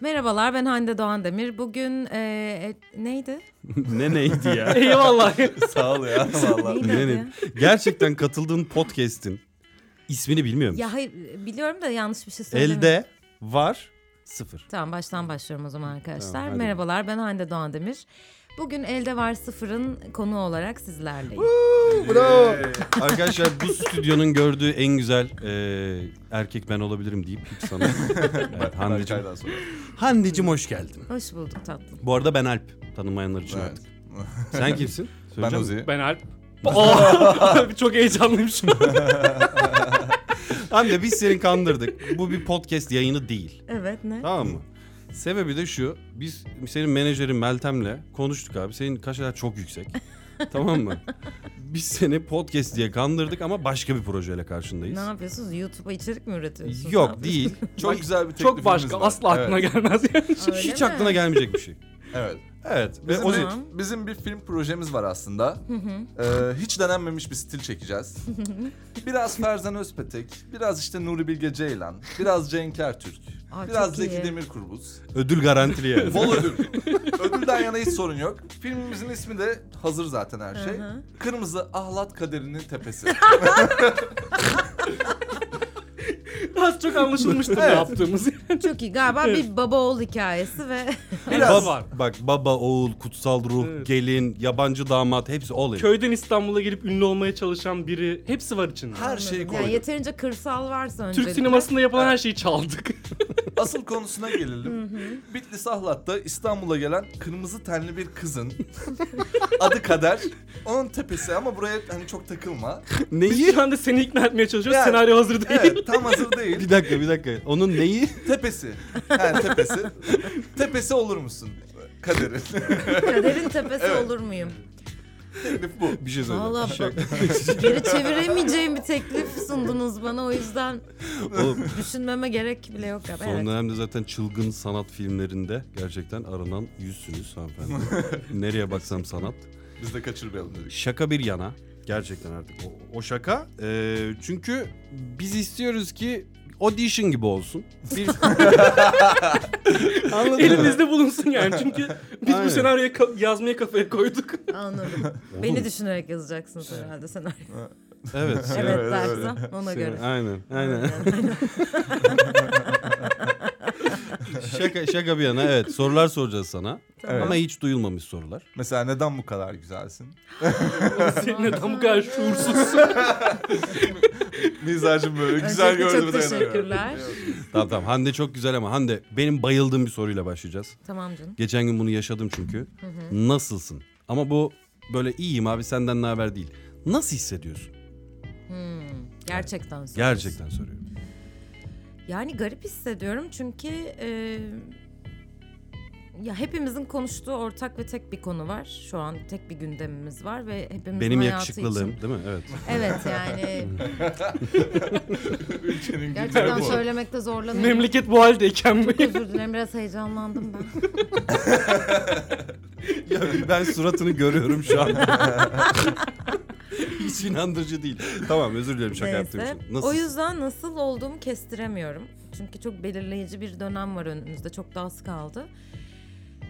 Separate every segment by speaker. Speaker 1: Merhabalar ben Hande Doğan Demir. Bugün e, e, neydi?
Speaker 2: ne neydi ya?
Speaker 3: Eyvallah.
Speaker 2: Sağ ol ya
Speaker 1: Neydi
Speaker 2: Ne
Speaker 1: adı
Speaker 2: ne?
Speaker 1: ya?
Speaker 2: Gerçekten katıldığın podcast'in ismini bilmiyor musun?
Speaker 1: Ya hayır biliyorum da yanlış bir şey söylemiyorum.
Speaker 2: Elde var sıfır.
Speaker 1: Tamam baştan başlıyorum o zaman arkadaşlar.
Speaker 2: Tamam, hadi.
Speaker 1: Merhabalar ben Hande Doğan Demir. Bugün Elde Var Sıfır'ın konu olarak sizlerleyim.
Speaker 2: Arkadaşlar bu stüdyonun gördüğü en güzel e, erkek ben olabilirim deyip hiç sana. evet, Hande'cim.
Speaker 4: Berkay'dan sonra.
Speaker 2: Handicim hoş geldin.
Speaker 1: Hoş bulduk tatlım.
Speaker 2: Bu arada ben Alp. Tanımayanlar için
Speaker 4: Evet.
Speaker 2: artık. Sen kimsin?
Speaker 4: Ben
Speaker 2: Söyleyeceğim misin?
Speaker 4: Ozi.
Speaker 3: Ben Alp. Aa, çok heyecanlıyım şu an.
Speaker 2: Hande biz seni kandırdık. Bu bir podcast yayını değil.
Speaker 1: Evet ne?
Speaker 2: Tamam mı? Sebebi de şu. Biz senin menajerin Meltem'le konuştuk abi. Senin kaşeler çok yüksek. tamam mı? Biz seni podcast diye kandırdık ama başka bir projeyle karşındayız.
Speaker 1: Ne yapıyorsunuz? YouTube'a içerik mi üretiyorsunuz?
Speaker 2: Yok değil.
Speaker 4: Çok güzel bir teklifimiz
Speaker 3: çok başka.
Speaker 4: var.
Speaker 3: Asla aklına
Speaker 4: evet.
Speaker 3: gelmez yani.
Speaker 1: Öyle
Speaker 2: Hiç
Speaker 1: mi?
Speaker 2: aklına gelmeyecek bir şey.
Speaker 4: Evet.
Speaker 2: Evet. Ve
Speaker 4: Bizim,
Speaker 2: o
Speaker 4: bir-
Speaker 1: Tamam.
Speaker 4: bizim bir film projemiz var aslında. Ee, hiç denenmemiş bir stil çekeceğiz. biraz Ferzan Özpetek, biraz işte Nuri Bilge Ceylan, biraz Cenk Ertürk,
Speaker 1: Aa,
Speaker 4: biraz
Speaker 1: çok
Speaker 4: Zeki
Speaker 1: iyi.
Speaker 4: Demirkubuz.
Speaker 2: ödül garantili yani.
Speaker 4: Bol ödül. Ödülden yana hiç sorun yok. Filmimizin ismi de hazır zaten her şey.
Speaker 1: Hı hı.
Speaker 4: Kırmızı Ahlat Kaderinin Tepesi.
Speaker 3: Az çok anlaşılmıştır ne
Speaker 4: Evet.
Speaker 3: yaptığımız.
Speaker 1: Çok iyi galiba bir baba oğul hikayesi ve
Speaker 4: Biraz.
Speaker 3: var.
Speaker 2: Bak baba, oğul, kutsal ruh,
Speaker 3: Evet.
Speaker 2: gelin, yabancı damat hepsi all in.
Speaker 3: Köyden İstanbul'a gelip ünlü olmaya çalışan biri. Hepsi var içinde.
Speaker 4: Her şeyi
Speaker 1: yani
Speaker 4: koyduk.
Speaker 1: yeterince kırsal varsa öncelikle.
Speaker 3: Türk sinemasında yapılan her şeyi çaldık.
Speaker 4: Asıl konusuna gelelim. Bitlis Ahlat'ta İstanbul'a gelen kırmızı tenli bir kızın adı Kader. Onun tepesi ama buraya hani çok takılma.
Speaker 3: Biz
Speaker 2: Neyi?
Speaker 3: şu anda seni ikna etmeye çalışıyoruz.
Speaker 4: Yani,
Speaker 3: Senaryo hazır değil.
Speaker 4: Evet tam hazır değil.
Speaker 2: bir dakika bir dakika. Onun neyi?
Speaker 4: Tepesi. Yani tepesi. Tepesi olur musun? Kader'in.
Speaker 1: Kaderin tepesi olur muyum?
Speaker 4: Teklif bu.
Speaker 2: Bir şey söyle.
Speaker 1: Valla geri çeviremeyeceğim bir teklif sundunuz bana o yüzden
Speaker 2: Oğlum,
Speaker 1: düşünmeme gerek bile yok. abi.
Speaker 2: Son
Speaker 1: Evet.
Speaker 2: dönemde zaten çılgın sanat filmlerinde gerçekten aranan yüzsünüz hanımefendi. Nereye baksam sanat.
Speaker 4: Biz de kaçırmayalım dedik.
Speaker 2: Şaka bir yana. Gerçekten artık o, o şaka. Ee, çünkü biz istiyoruz ki audition gibi olsun. Bir... Anladın mı?
Speaker 3: Elimizde bulunsun yani. Çünkü biz
Speaker 2: Aynen.
Speaker 3: bu senaryoyu ka- yazmaya kafaya koyduk.
Speaker 1: Anladım.
Speaker 2: Oğlum,
Speaker 1: Beni düşünerek yazacaksınız herhalde senaryo.
Speaker 2: Evet. Şey- sen-
Speaker 1: Evet,
Speaker 4: öyle.
Speaker 1: dersem ona
Speaker 2: sen-
Speaker 1: göre.
Speaker 2: Aynen. Aynen. şaka, şaka bir yana evet sorular soracağız sana.
Speaker 4: Tamam.
Speaker 2: Ama hiç duyulmamış sorular.
Speaker 4: Mesela neden bu kadar güzelsin?
Speaker 3: Senin neden bu kadar şuursuzsun?
Speaker 4: Mizacım böyle güzel
Speaker 1: Öncelikle
Speaker 4: gördüm.
Speaker 1: çok teşekkürler.
Speaker 2: Tamam tamam Hande çok güzel ama Hande benim bayıldığım bir soruyla başlayacağız.
Speaker 1: Tamam canım.
Speaker 2: Geçen gün bunu yaşadım çünkü. Nasılsın? Ama bu böyle iyiyim abi senden ne haber değil. Nasıl hissediyorsun?
Speaker 1: Hmm, Gerçekten söylüyorsun.
Speaker 2: Gerçekten soruyorum.
Speaker 1: Yani garip hissediyorum çünkü e, ya hepimizin konuştuğu ortak ve tek bir konu var. Şu an tek bir gündemimiz var ve hepimizin
Speaker 2: Benim
Speaker 1: hayatı
Speaker 2: yakışıklılığım
Speaker 1: için.
Speaker 2: değil mi? Evet.
Speaker 1: Evet yani
Speaker 4: Ülkenin
Speaker 1: gerçekten
Speaker 4: gündemi bu.
Speaker 1: söylemekte zorlanıyorum.
Speaker 3: Memleket bu haldeyken mi?
Speaker 1: Özür dilerim biraz heyecanlandım ben.
Speaker 2: Ya ben suratını görüyorum şu an. Hiç inandırıcı değil. Tamam özür dilerim şaka yaptığım
Speaker 1: Neyse.
Speaker 2: için. Nasıl?
Speaker 1: O yüzden nasıl olduğumu kestiremiyorum. Çünkü çok belirleyici bir dönem var önümüzde. Çok da az kaldı.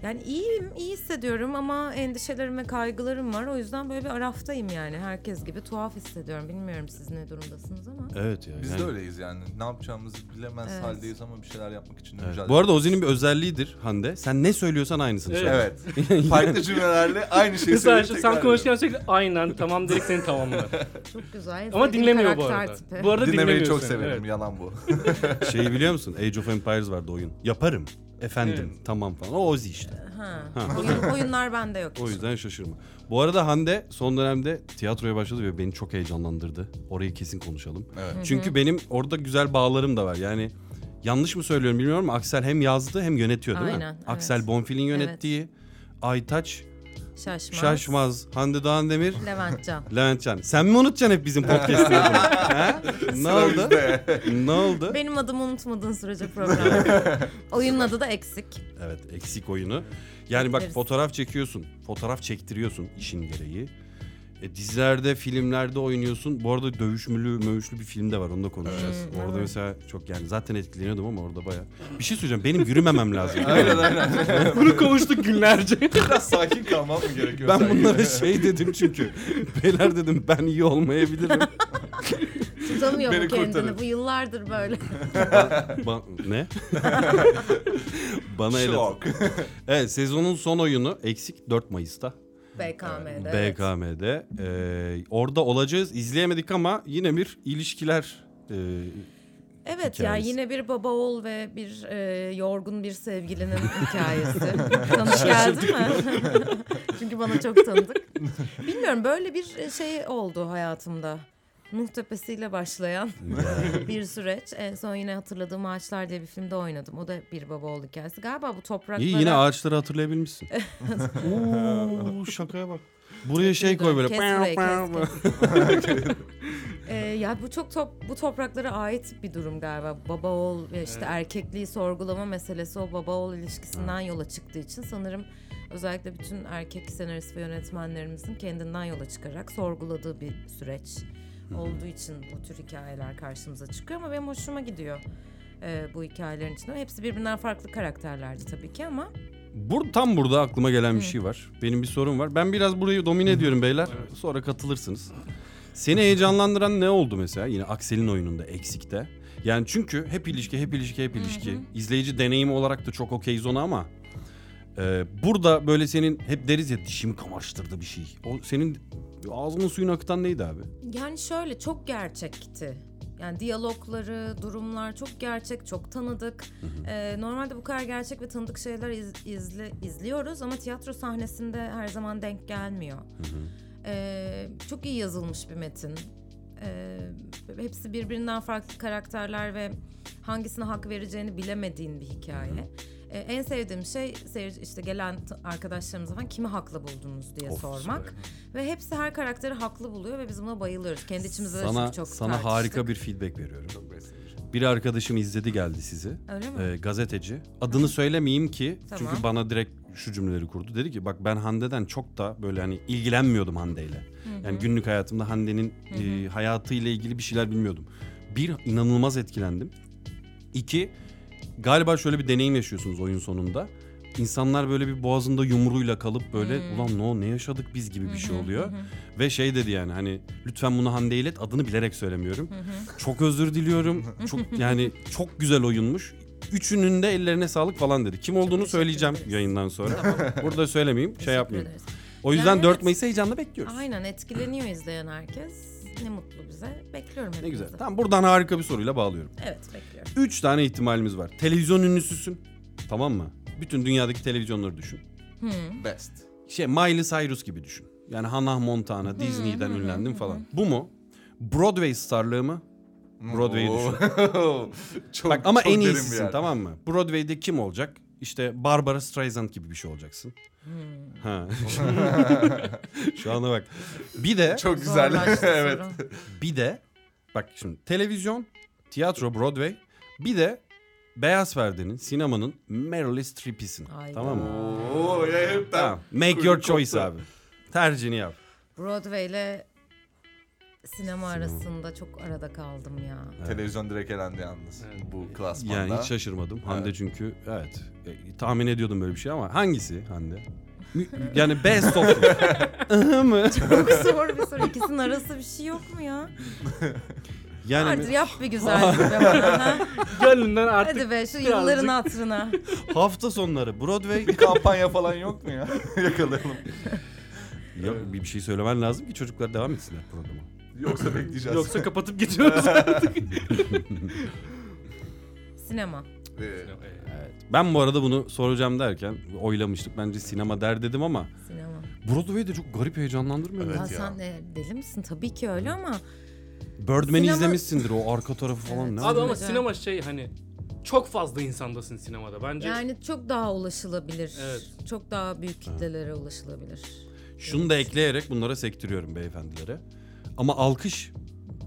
Speaker 1: Yani iyiyim, iyi hissediyorum ama endişelerim ve kaygılarım var. O yüzden böyle bir araftayım yani. Herkes gibi tuhaf hissediyorum. Bilmiyorum siz ne durumdasınız ama.
Speaker 2: Evet ya.
Speaker 4: Biz
Speaker 2: yani-
Speaker 4: de öyleyiz yani. Ne yapacağımızı bilemez
Speaker 1: Evet.
Speaker 4: haldeyiz ama bir şeyler yapmak için
Speaker 2: Evet.
Speaker 4: mücadele
Speaker 2: Bu arada Ozi'nin bir özelliğidir Hande. Sen ne söylüyorsan aynısını
Speaker 3: Evet.
Speaker 2: söyle.
Speaker 4: Evet. Farklı cümlelerle aynı şeyi
Speaker 3: Mesela
Speaker 4: söyleyip
Speaker 3: şu- sen
Speaker 4: tekrar
Speaker 3: konuşurken sürekli aynen tamam direkt seni tamamlar.
Speaker 1: Çok güzel.
Speaker 3: Ama
Speaker 1: Sevdiğim
Speaker 3: dinlemiyor bu
Speaker 1: karakter
Speaker 3: arada.
Speaker 1: tipi.
Speaker 3: Bu arada
Speaker 4: Dinlemeyi
Speaker 3: dinlemiyor
Speaker 4: çok
Speaker 3: seni,
Speaker 4: severim.
Speaker 3: evet.
Speaker 4: Yalan bu.
Speaker 2: Şeyi biliyor musun? Age of Empires vardı oyun. Yaparım. Efendim
Speaker 3: Evet.
Speaker 2: tamam falan. O Ozi işte.
Speaker 1: Ha.
Speaker 2: Ha.
Speaker 1: Oyun, oyunlar bende yok.
Speaker 2: O yüzden şaşırma. Bu arada Hande son dönemde tiyatroya başladı ve beni çok heyecanlandırdı. Orayı kesin konuşalım.
Speaker 4: Evet.
Speaker 2: Çünkü benim orada güzel bağlarım da var. Yani yanlış mı söylüyorum bilmiyorum ama Aksel hem yazdı hem yönetiyor değil
Speaker 1: Aynen,
Speaker 2: mi?
Speaker 1: evet.
Speaker 2: Aksel Bonfil'in yönettiği Aytaç,
Speaker 1: Şaşmaz.
Speaker 2: Şaşmaz, Hande Doğan Demir,
Speaker 1: Levent Can.
Speaker 2: Levent Can. Sen mi unutacaksın hep bizim podcast'ı? Ha? ne oldu? ne oldu?
Speaker 1: Benim adımı unutmadığın sürece program. Oyunun adı da eksik.
Speaker 2: Evet eksik oyunu. Yani bak
Speaker 1: Bekleriz.
Speaker 2: fotoğraf çekiyorsun. Fotoğraf çektiriyorsun işin gereği. E, dizilerde, filmlerde oynuyorsun. Bu arada dövüşmülü, mövüşlü bir film de var. Onu da konuşacağız.
Speaker 1: Hmm,
Speaker 2: orada
Speaker 1: evet.
Speaker 2: mesela çok yani zaten etkileniyordum ama orada baya. Bir şey söyleyeceğim. Benim yürümemem lazım.
Speaker 4: aynen aynen.
Speaker 3: Bunu konuştuk günlerce.
Speaker 4: Biraz sakin kalmam mı gerekiyor?
Speaker 2: Ben
Speaker 4: sanki?
Speaker 2: bunlara şey dedim çünkü. Beyler dedim ben iyi olmayabilirim.
Speaker 1: Tutamıyor
Speaker 4: Beni
Speaker 1: bu kendini.
Speaker 4: kurtarın.
Speaker 1: Bu yıllardır böyle.
Speaker 2: Ba- ne? Bana el atın.
Speaker 4: Şok.
Speaker 2: Evet sezonun son oyunu eksik 4 Mayıs'ta.
Speaker 1: BKM'de. evet.
Speaker 2: BKM'de. Ee, orada olacağız. İzleyemedik ama yine bir ilişkiler e,
Speaker 1: Evet
Speaker 2: hikayesi.
Speaker 1: ya yine bir baba oğul ve bir e, yorgun bir sevgilinin hikayesi. Tanış geldi mi? Çünkü bana çok tanıdık. Bilmiyorum böyle bir şey oldu hayatımda. Nuh Tepesi'yle başlayan bir süreç. En son yine hatırladığım Ağaçlar diye bir filmde oynadım. O da bir baba oğul hikayesi. Galiba bu topraklara...
Speaker 2: İyi yine ağaçları hatırlayabilmişsin. Oo, şakaya bak. Buraya şey koy böyle.
Speaker 1: Kes burayı, kes, kes. Ee, ya bu çok top, bu topraklara ait bir durum galiba. Baba oğul ve işte erkekliği sorgulama meselesi o baba oğul ilişkisinden yola çıktığı için sanırım özellikle bütün erkek senarist ve yönetmenlerimizin kendinden yola çıkarak sorguladığı bir süreç olduğu için bu tür hikayeler karşımıza çıkıyor ama benim hoşuma gidiyor. ee, bu hikayelerin içinde. Hepsi birbirinden farklı karakterlerdi tabii ki ama
Speaker 2: Bur tam burada aklıma gelen bir şey var. Benim bir sorum var. Ben biraz burayı domine ediyorum beyler. Sonra katılırsınız. Seni heyecanlandıran ne oldu mesela? Yine Aksel'in oyununda eksikte. Yani çünkü hep ilişki, hep ilişki, hep ilişki. İzleyici deneyimi olarak da çok okeyiz ona ama e, burada böyle senin hep deriz ya dişimi kamaştırdı bir şey. O senin ağzının suyunu akıtan neydi abi?
Speaker 1: Yani şöyle çok gerçekti. Yani diyalogları, durumlar çok gerçek, çok tanıdık. Ee, normalde bu kadar gerçek ve tanıdık şeyler iz- izle, izliyoruz ama tiyatro sahnesinde her zaman denk gelmiyor. Ee, çok iyi yazılmış bir metin. Ee, hepsi birbirinden farklı karakterler ve hangisine hak vereceğini bilemediğin bir hikaye. Ee, en sevdiğim şey seyirci işte gelen t- arkadaşlarımıza falan kimi haklı buldunuz diye
Speaker 2: Of,
Speaker 1: sormak. Ve hepsi her karakteri haklı buluyor ve biz buna bayılıyoruz. Kendi içimizde de
Speaker 2: sana
Speaker 1: çünkü çok
Speaker 2: sana
Speaker 1: tartıştık.
Speaker 2: harika bir feedback veriyorum. Bir arkadaşım izledi geldi sizi.
Speaker 1: Öyle mi?
Speaker 2: Ee, gazeteci. Adını söylemeyeyim ki
Speaker 1: Tamam.
Speaker 2: çünkü bana direkt şu cümleleri kurdu. Dedi ki bak ben Hande'den çok da böyle hani ilgilenmiyordum Hande'yle. Yani günlük hayatımda Hande'nin e, hayatıyla ilgili bir şeyler bilmiyordum. Bir inanılmaz etkilendim. İki galiba şöyle bir deneyim yaşıyorsunuz oyun sonunda. İnsanlar böyle bir boğazında yumruğuyla kalıp böyle
Speaker 1: Hmm.
Speaker 2: ulan no ne yaşadık biz gibi bir şey oluyor. Ve şey dedi yani hani lütfen bunu Hande ilet adını bilerek söylemiyorum. Çok özür diliyorum. Çok yani çok güzel oyunmuş. Üçünün de ellerine sağlık falan dedi. Kim olduğunu
Speaker 1: teşekkür
Speaker 2: söyleyeceğim
Speaker 1: ederiz.
Speaker 2: yayından sonra. Burada söylemeyeyim, şey
Speaker 1: Teşekkür
Speaker 2: yapmayayım.
Speaker 1: ederiz.
Speaker 2: O yüzden
Speaker 1: Yani
Speaker 2: 4
Speaker 1: evet.
Speaker 2: Mayıs'ı heyecanla bekliyoruz.
Speaker 1: Aynen etkileniyor izleyen herkes. Ne mutlu bize. Bekliyorum
Speaker 2: Ne güzel.
Speaker 1: hepinizi.
Speaker 2: Tamam buradan harika bir soruyla bağlıyorum.
Speaker 1: Evet bekliyorum.
Speaker 2: 3 tane ihtimalimiz var. Televizyon ünlüsüsün. Tamam mı? Bütün dünyadaki televizyonları düşün.
Speaker 4: Best.
Speaker 2: Şey Miley Cyrus gibi düşün. Yani Hannah Montana, Disney'den ünlendim falan. Bu mu? Broadway starlığı mı? Broadway'i düşün.
Speaker 4: Oo. çok,
Speaker 2: Bak ama
Speaker 4: çok
Speaker 2: en
Speaker 4: derin bir
Speaker 2: iyisisin
Speaker 4: yer.
Speaker 2: tamam mı? Broadway'de kim olacak? İşte Barbara Streisand gibi bir şey olacaksın. Ha. Şu ana bak. Bir de
Speaker 4: Çok güzel.
Speaker 1: Zorlaştı
Speaker 4: evet.
Speaker 1: soru.
Speaker 2: bir de bak şimdi televizyon, tiyatro, Broadway. Bir de beyaz perdenin, sinemanın Meryl Streep'isin.
Speaker 1: Hayda.
Speaker 2: Tamam mı?
Speaker 4: Oo ya hep ben.
Speaker 2: Tamam. Make your
Speaker 4: Kuyruk
Speaker 2: choice
Speaker 4: koptu.
Speaker 2: abi. Tercihini yap.
Speaker 1: Broadway ile sinema arasında çok arada kaldım ya.
Speaker 4: Televizyon direkt elendi yalnız. Bu klasmanda.
Speaker 2: Yani hiç şaşırmadım. Hande çünkü evet e, tahmin ediyordum böyle bir şey ama hangisi Hande? Mü- Yani best of. Ihı mı?
Speaker 1: Çok zor bir soru. İkisinin arası bir şey yok mu ya?
Speaker 2: Yani
Speaker 1: Vardır yap bir güzellik be bana. ha?
Speaker 3: Gönlünden artık
Speaker 1: Hadi be şu
Speaker 3: birazcık-
Speaker 1: yılların hatırına.
Speaker 2: Hafta sonları Broadway.
Speaker 4: bir kampanya falan yok mu ya? Yakalayalım.
Speaker 2: ya, bir bir şey söylemen lazım ki çocuklar devam etsinler programa.
Speaker 4: Yoksa bekleyeceğiz.
Speaker 3: yoksa kapatıp gidiyoruz.
Speaker 1: Sinema.
Speaker 4: Ee,
Speaker 2: Ben bu arada bunu soracağım derken oylamıştık. Bence sinema der dedim ama
Speaker 1: Sinema.
Speaker 2: Broadway de çok garip heyecanlandırmıyor.
Speaker 4: Evet
Speaker 2: mu?
Speaker 1: ya,
Speaker 4: ya.
Speaker 1: sen de deli misin? Tabii ki öyle ama
Speaker 2: Birdman'i
Speaker 1: Sinema-
Speaker 2: izlemişsindir o arka tarafı falan
Speaker 1: Evet.
Speaker 2: ne?
Speaker 3: Abi ama
Speaker 1: Güzel.
Speaker 3: sinema şey hani çok fazla insandasın sinemada bence.
Speaker 1: yani çok daha ulaşılabilir.
Speaker 3: Evet.
Speaker 1: Çok daha büyük kitlelere ulaşılabilir.
Speaker 2: Şunu da ekleyerek bunlara sektiriyorum beyefendilere. Ama alkış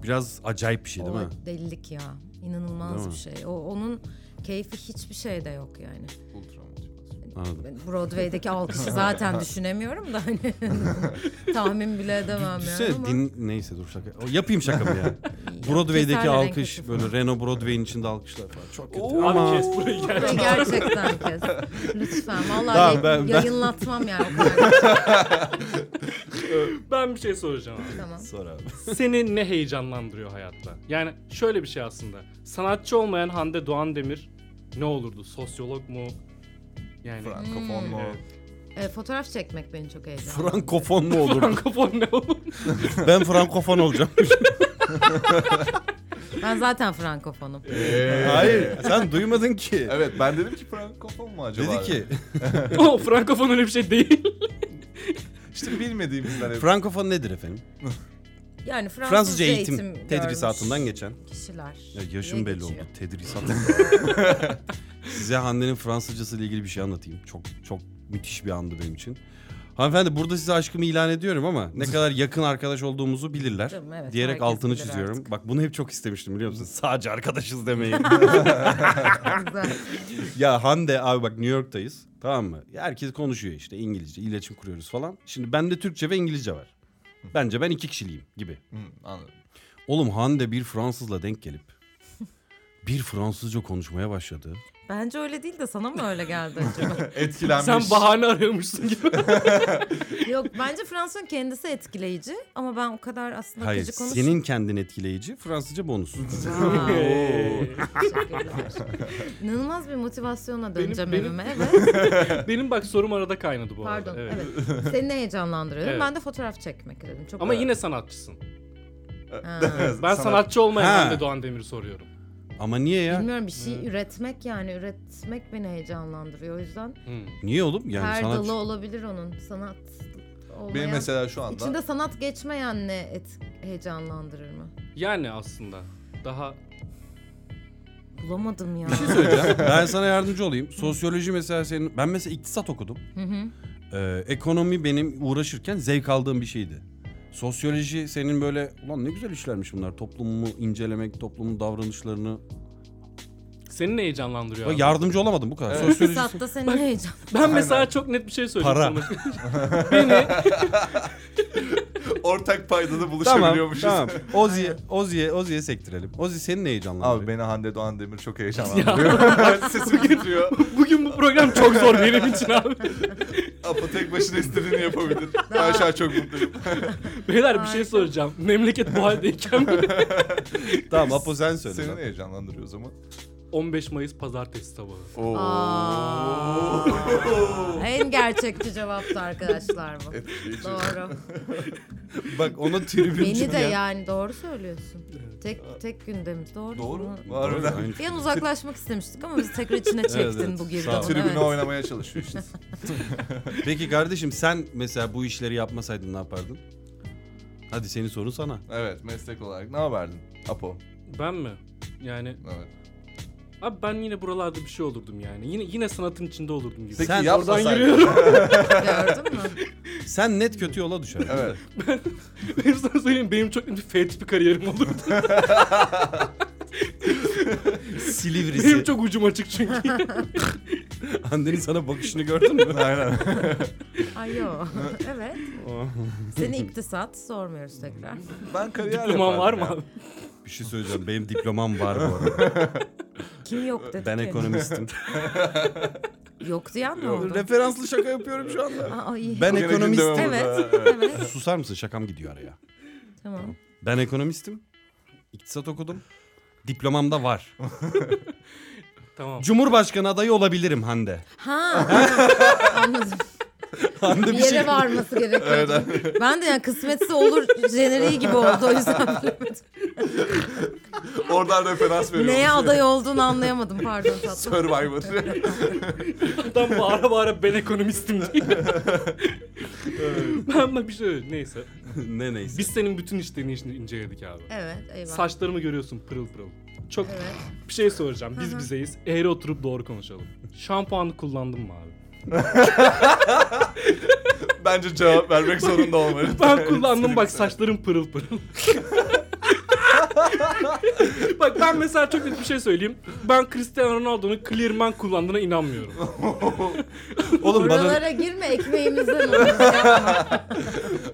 Speaker 2: biraz acayip bir şey değil
Speaker 1: o
Speaker 2: mi?
Speaker 1: delilik ya. İnanılmaz
Speaker 2: Değil mi?
Speaker 1: bir şey. O onun keyfi hiçbir şeyde yok yani.
Speaker 4: ultra motivasyon.
Speaker 2: Anladım.
Speaker 1: Broadway'deki alkışı zaten düşünemiyorum da hani tahmin bile edemem yani
Speaker 2: Düşünsene
Speaker 1: ama.
Speaker 2: din... Neyse dur şaka. O, yapayım şakamı ya. Broadway'deki
Speaker 1: Keserler en
Speaker 2: alkış
Speaker 1: kötüsü.
Speaker 2: böyle Renault Broadway'in içinde alkışlar falan. Çok kötü.
Speaker 4: Oo.
Speaker 2: Ama
Speaker 3: Abi kes burayı
Speaker 1: Ve
Speaker 3: gerçekten.
Speaker 1: gerçekten kes. Lütfen vallahi
Speaker 2: Tamam,
Speaker 1: yay-
Speaker 2: ben- ben-
Speaker 1: yayınlatmam yani o kadar.
Speaker 3: Ben bir şey soracağım. abi.
Speaker 1: tamam.
Speaker 4: Sor abi.
Speaker 3: Seni ne heyecanlandırıyor hayatta? Yani şöyle bir şey aslında. Sanatçı olmayan Hande Doğan Demir ne olurdu? Sosyolog mu? Yani
Speaker 4: Frankofon mu?
Speaker 3: Evet.
Speaker 1: E, fotoğraf çekmek beni çok heyecanlandırıyor.
Speaker 2: Frankofon mu olur?
Speaker 3: Frankofon ne olur?
Speaker 2: ben Frankofon olacağım.
Speaker 1: Ben zaten frankofonum.
Speaker 2: Hayır sen duymadın ki.
Speaker 4: Evet ben dedim ki Frankofon mu acaba?
Speaker 2: Dedi ki
Speaker 3: o Frankofon öyle bir şey değil.
Speaker 4: İşte bilmediğimizden hep.
Speaker 2: Frankofon nedir efendim?
Speaker 1: Yani Fransızca,
Speaker 2: Fransızca
Speaker 1: eğitim,
Speaker 2: eğitim,
Speaker 1: görmüş
Speaker 2: tedrisatından geçen.
Speaker 1: kişiler.
Speaker 2: Ya
Speaker 1: diye
Speaker 2: yaşım belli
Speaker 1: geçiyor.
Speaker 2: oldu. Tedrisat. Size Hande'nin Fransızcası ile ilgili bir şey anlatayım. Çok çok müthiş bir andı benim için. Hanımefendi burada size aşkımı ilan ediyorum ama ne kadar yakın arkadaş olduğumuzu bilirler.
Speaker 1: Canım, evet,
Speaker 2: diyerek
Speaker 1: herkes
Speaker 2: altını
Speaker 1: bilir
Speaker 2: çiziyorum.
Speaker 1: artık.
Speaker 2: Bak bunu hep çok istemiştim biliyor musun? Sadece arkadaşız demeyi.
Speaker 1: Güzel.
Speaker 2: ya Hande abi bak New York'tayız. Tamam mı? Herkes konuşuyor işte İngilizce, iletişim kuruyoruz falan. Şimdi bende Türkçe ve İngilizce var. Bence ben iki kişiliyim gibi.
Speaker 4: Hı, anladım.
Speaker 2: Oğlum Hande bir Fransızla denk gelip bir Fransızca konuşmaya başladı.
Speaker 1: Bence öyle değil de sana mı öyle geldi acaba?
Speaker 4: Etkilenmiş.
Speaker 3: Sen bahane arıyormuşsun gibi.
Speaker 1: Yok bence Fransızın kendisi etkileyici ama ben o kadar aslında
Speaker 2: Hayır,
Speaker 1: akıcı konuş-
Speaker 2: senin kendin etkileyici, Fransızca bonus.
Speaker 1: Aa, teşekkürler. İnanılmaz bir motivasyona döneceğim
Speaker 3: benim-
Speaker 1: evime. Evet.
Speaker 3: Benim bak sorum arada kaynadı bu arada.
Speaker 1: Pardon.
Speaker 3: Evet.
Speaker 1: Evet. Seni ne heyecanlandırıyorum?
Speaker 3: Evet.
Speaker 1: Ben de fotoğraf çekmek dedim. Çok
Speaker 3: Ama
Speaker 1: Ha.
Speaker 3: yine sanatçısın. Ben
Speaker 4: Sana-
Speaker 3: sanatçı olmayan
Speaker 2: Ha.
Speaker 3: Hande Doğan Demir'i soruyorum.
Speaker 2: Ama niye ya?
Speaker 1: Bilmiyorum bir şey
Speaker 3: Hmm.
Speaker 1: üretmek yani üretmek beni heyecanlandırıyor. O yüzden
Speaker 3: Hmm.
Speaker 2: Niye oğlum? Yani
Speaker 1: her
Speaker 2: sanat
Speaker 1: dalı olabilir onun. Sanat olmayan.
Speaker 4: Benim mesela şu anda
Speaker 1: İçinde sanat geçmeyen ne et heyecanlandırır mı?
Speaker 3: Yani aslında daha
Speaker 1: Bulamadım ya.
Speaker 2: söyleyeceğim. ben sana yardımcı olayım. Sosyoloji mesela senin... Ben mesela iktisat okudum.
Speaker 1: Hı hı.
Speaker 2: Ee, ekonomi benim uğraşırken zevk aldığım bir şeydi. Sosyoloji senin böyle... Ulan ne güzel işlermiş bunlar. Toplumu incelemek, toplumun davranışlarını...
Speaker 3: seni ne heyecanlandırıyor?
Speaker 2: Bak
Speaker 3: abi?
Speaker 2: yardımcı olamadım bu kadar.
Speaker 4: Evet.
Speaker 2: Sosyoloji...
Speaker 1: Fırsatta senin heyecan.
Speaker 3: Ben mesela çok net bir şey söyleyeceğim.
Speaker 2: Para.
Speaker 3: sana. Beni
Speaker 4: ortak paydada
Speaker 2: Tamam,
Speaker 4: buluşabiliyormuşuz.
Speaker 2: tamam. Ozi'ye, Ozi'ye, Ozi'ye sektirelim. Ozi senin ne heyecanlandırıyor?
Speaker 4: Abi beni Hande Doğan Demir çok heyecanlandırıyor. Sesim titriyor.
Speaker 3: bugün bu program çok zor benim için abi.
Speaker 4: Apo tek başına istediğini yapabilir. Ben şu an çok mutluyum.
Speaker 3: Beyler bir şey
Speaker 1: Harika.
Speaker 3: soracağım. Memleket bu haldeyken mi?
Speaker 2: Tamam Apo sen söyle.
Speaker 4: Seni
Speaker 2: lan.
Speaker 4: ne heyecanlandırıyor o zaman?
Speaker 3: 15 Mayıs pazartesi sabahı.
Speaker 1: Aa. en gerçekçi cevaptı arkadaşlar bu. Doğru.
Speaker 2: Bak ona tribün
Speaker 1: Beni
Speaker 2: çıktı
Speaker 1: de
Speaker 2: ya.
Speaker 1: yani doğru söylüyorsun. Tek tek gündemiz doğru.
Speaker 4: Doğru.
Speaker 1: Bunu-
Speaker 4: Harbiden.
Speaker 2: Aynı
Speaker 1: Bir an uzaklaşmak istemiştik ama bizi tekrar içine çektin
Speaker 2: evet.
Speaker 1: bu
Speaker 2: Sağ ol.
Speaker 1: girdabın.
Speaker 4: Tribüne
Speaker 1: Evet.
Speaker 4: oynamaya çalışıyor işte.
Speaker 2: Peki kardeşim sen mesela bu işleri yapmasaydın ne yapardın? Hadi senin sorun sana.
Speaker 4: Evet meslek olarak ne yapardın? Apo.
Speaker 3: Ben mi? Yani
Speaker 4: Evet.
Speaker 3: abi ben yine buralarda bir şey olurdum yani. Yine yine sanatın içinde olurdum gibi.
Speaker 4: Peki
Speaker 2: Sen
Speaker 3: Oradan
Speaker 4: yapmasaydın.
Speaker 3: yürüyorum.
Speaker 1: Gördün mü?
Speaker 2: Sen net kötü yola düşer.
Speaker 4: Evet.
Speaker 3: Benim sana söyleyeyim benim çok net bir F tipi kariyerim olurdu. benim
Speaker 2: Silivrisi.
Speaker 3: çok ucum açık çünkü.
Speaker 2: Hande'nin sana bakışını gördün mü?
Speaker 4: Aynen.
Speaker 1: Ay yo. evet.
Speaker 2: Oh.
Speaker 1: Seni iktisat sormuyoruz tekrar.
Speaker 4: Ben kariyer
Speaker 3: Duman
Speaker 4: yapardım
Speaker 3: var mı
Speaker 4: ya.
Speaker 3: abi?
Speaker 2: Bir şey söyleyeceğim. Benim diplomam var bu arada.
Speaker 1: Kim yok dedi.
Speaker 2: Ben
Speaker 1: ki?
Speaker 2: ekonomistim.
Speaker 1: Yok diyen mi oldu?
Speaker 2: Referanslı şaka yapıyorum şu anda.
Speaker 1: Aa, iyi.
Speaker 2: Ben
Speaker 4: Gene
Speaker 2: ekonomistim.
Speaker 4: gündeme vurdu,
Speaker 1: Evet.
Speaker 4: ha, evet.
Speaker 1: Evet.
Speaker 2: Susar mısın? Şakam gidiyor araya.
Speaker 1: Tamam.
Speaker 2: Ben ekonomistim. İktisat okudum. Diplomam da var.
Speaker 3: Tamam.
Speaker 2: Cumhurbaşkanı adayı olabilirim Hande.
Speaker 1: Ha. Anladım.
Speaker 2: Hande
Speaker 1: Bir
Speaker 2: bir şey...
Speaker 1: yere varması gerekiyordu. Ben de yani kısmetse olur jeneriği gibi oldu o yüzden bilemedim.
Speaker 4: Oradan referans veriyorum.
Speaker 1: Neye aday olduğunu anlayamadım pardon tatlım.
Speaker 4: Survivor.
Speaker 3: Adam bağıra bağıra ben ekonomistim diye. ben bak bir şey söyleyeyim. Neyse.
Speaker 2: ne neyse.
Speaker 3: Biz senin bütün işlerini in- inceledik abi.
Speaker 1: Evet eyvah.
Speaker 3: Saçlarımı görüyorsun pırıl pırıl. Çok
Speaker 1: Evet.
Speaker 3: bir şey soracağım. Biz
Speaker 1: Hı hı.
Speaker 3: bizeyiz. Eğri oturup doğru konuşalım. Şampuanı kullandın mı abi?
Speaker 4: Bence cevap vermek zorunda olmalı.
Speaker 3: Ben kullandım bak saçlarım pırıl pırıl. Bak ben mesela çok net bir şey söyleyeyim. Ben Cristiano Ronaldo'nun Clearman kullandığına inanmıyorum.
Speaker 2: Oğlum bana
Speaker 1: Buralara girme ekmeğimizden olur. Yapma.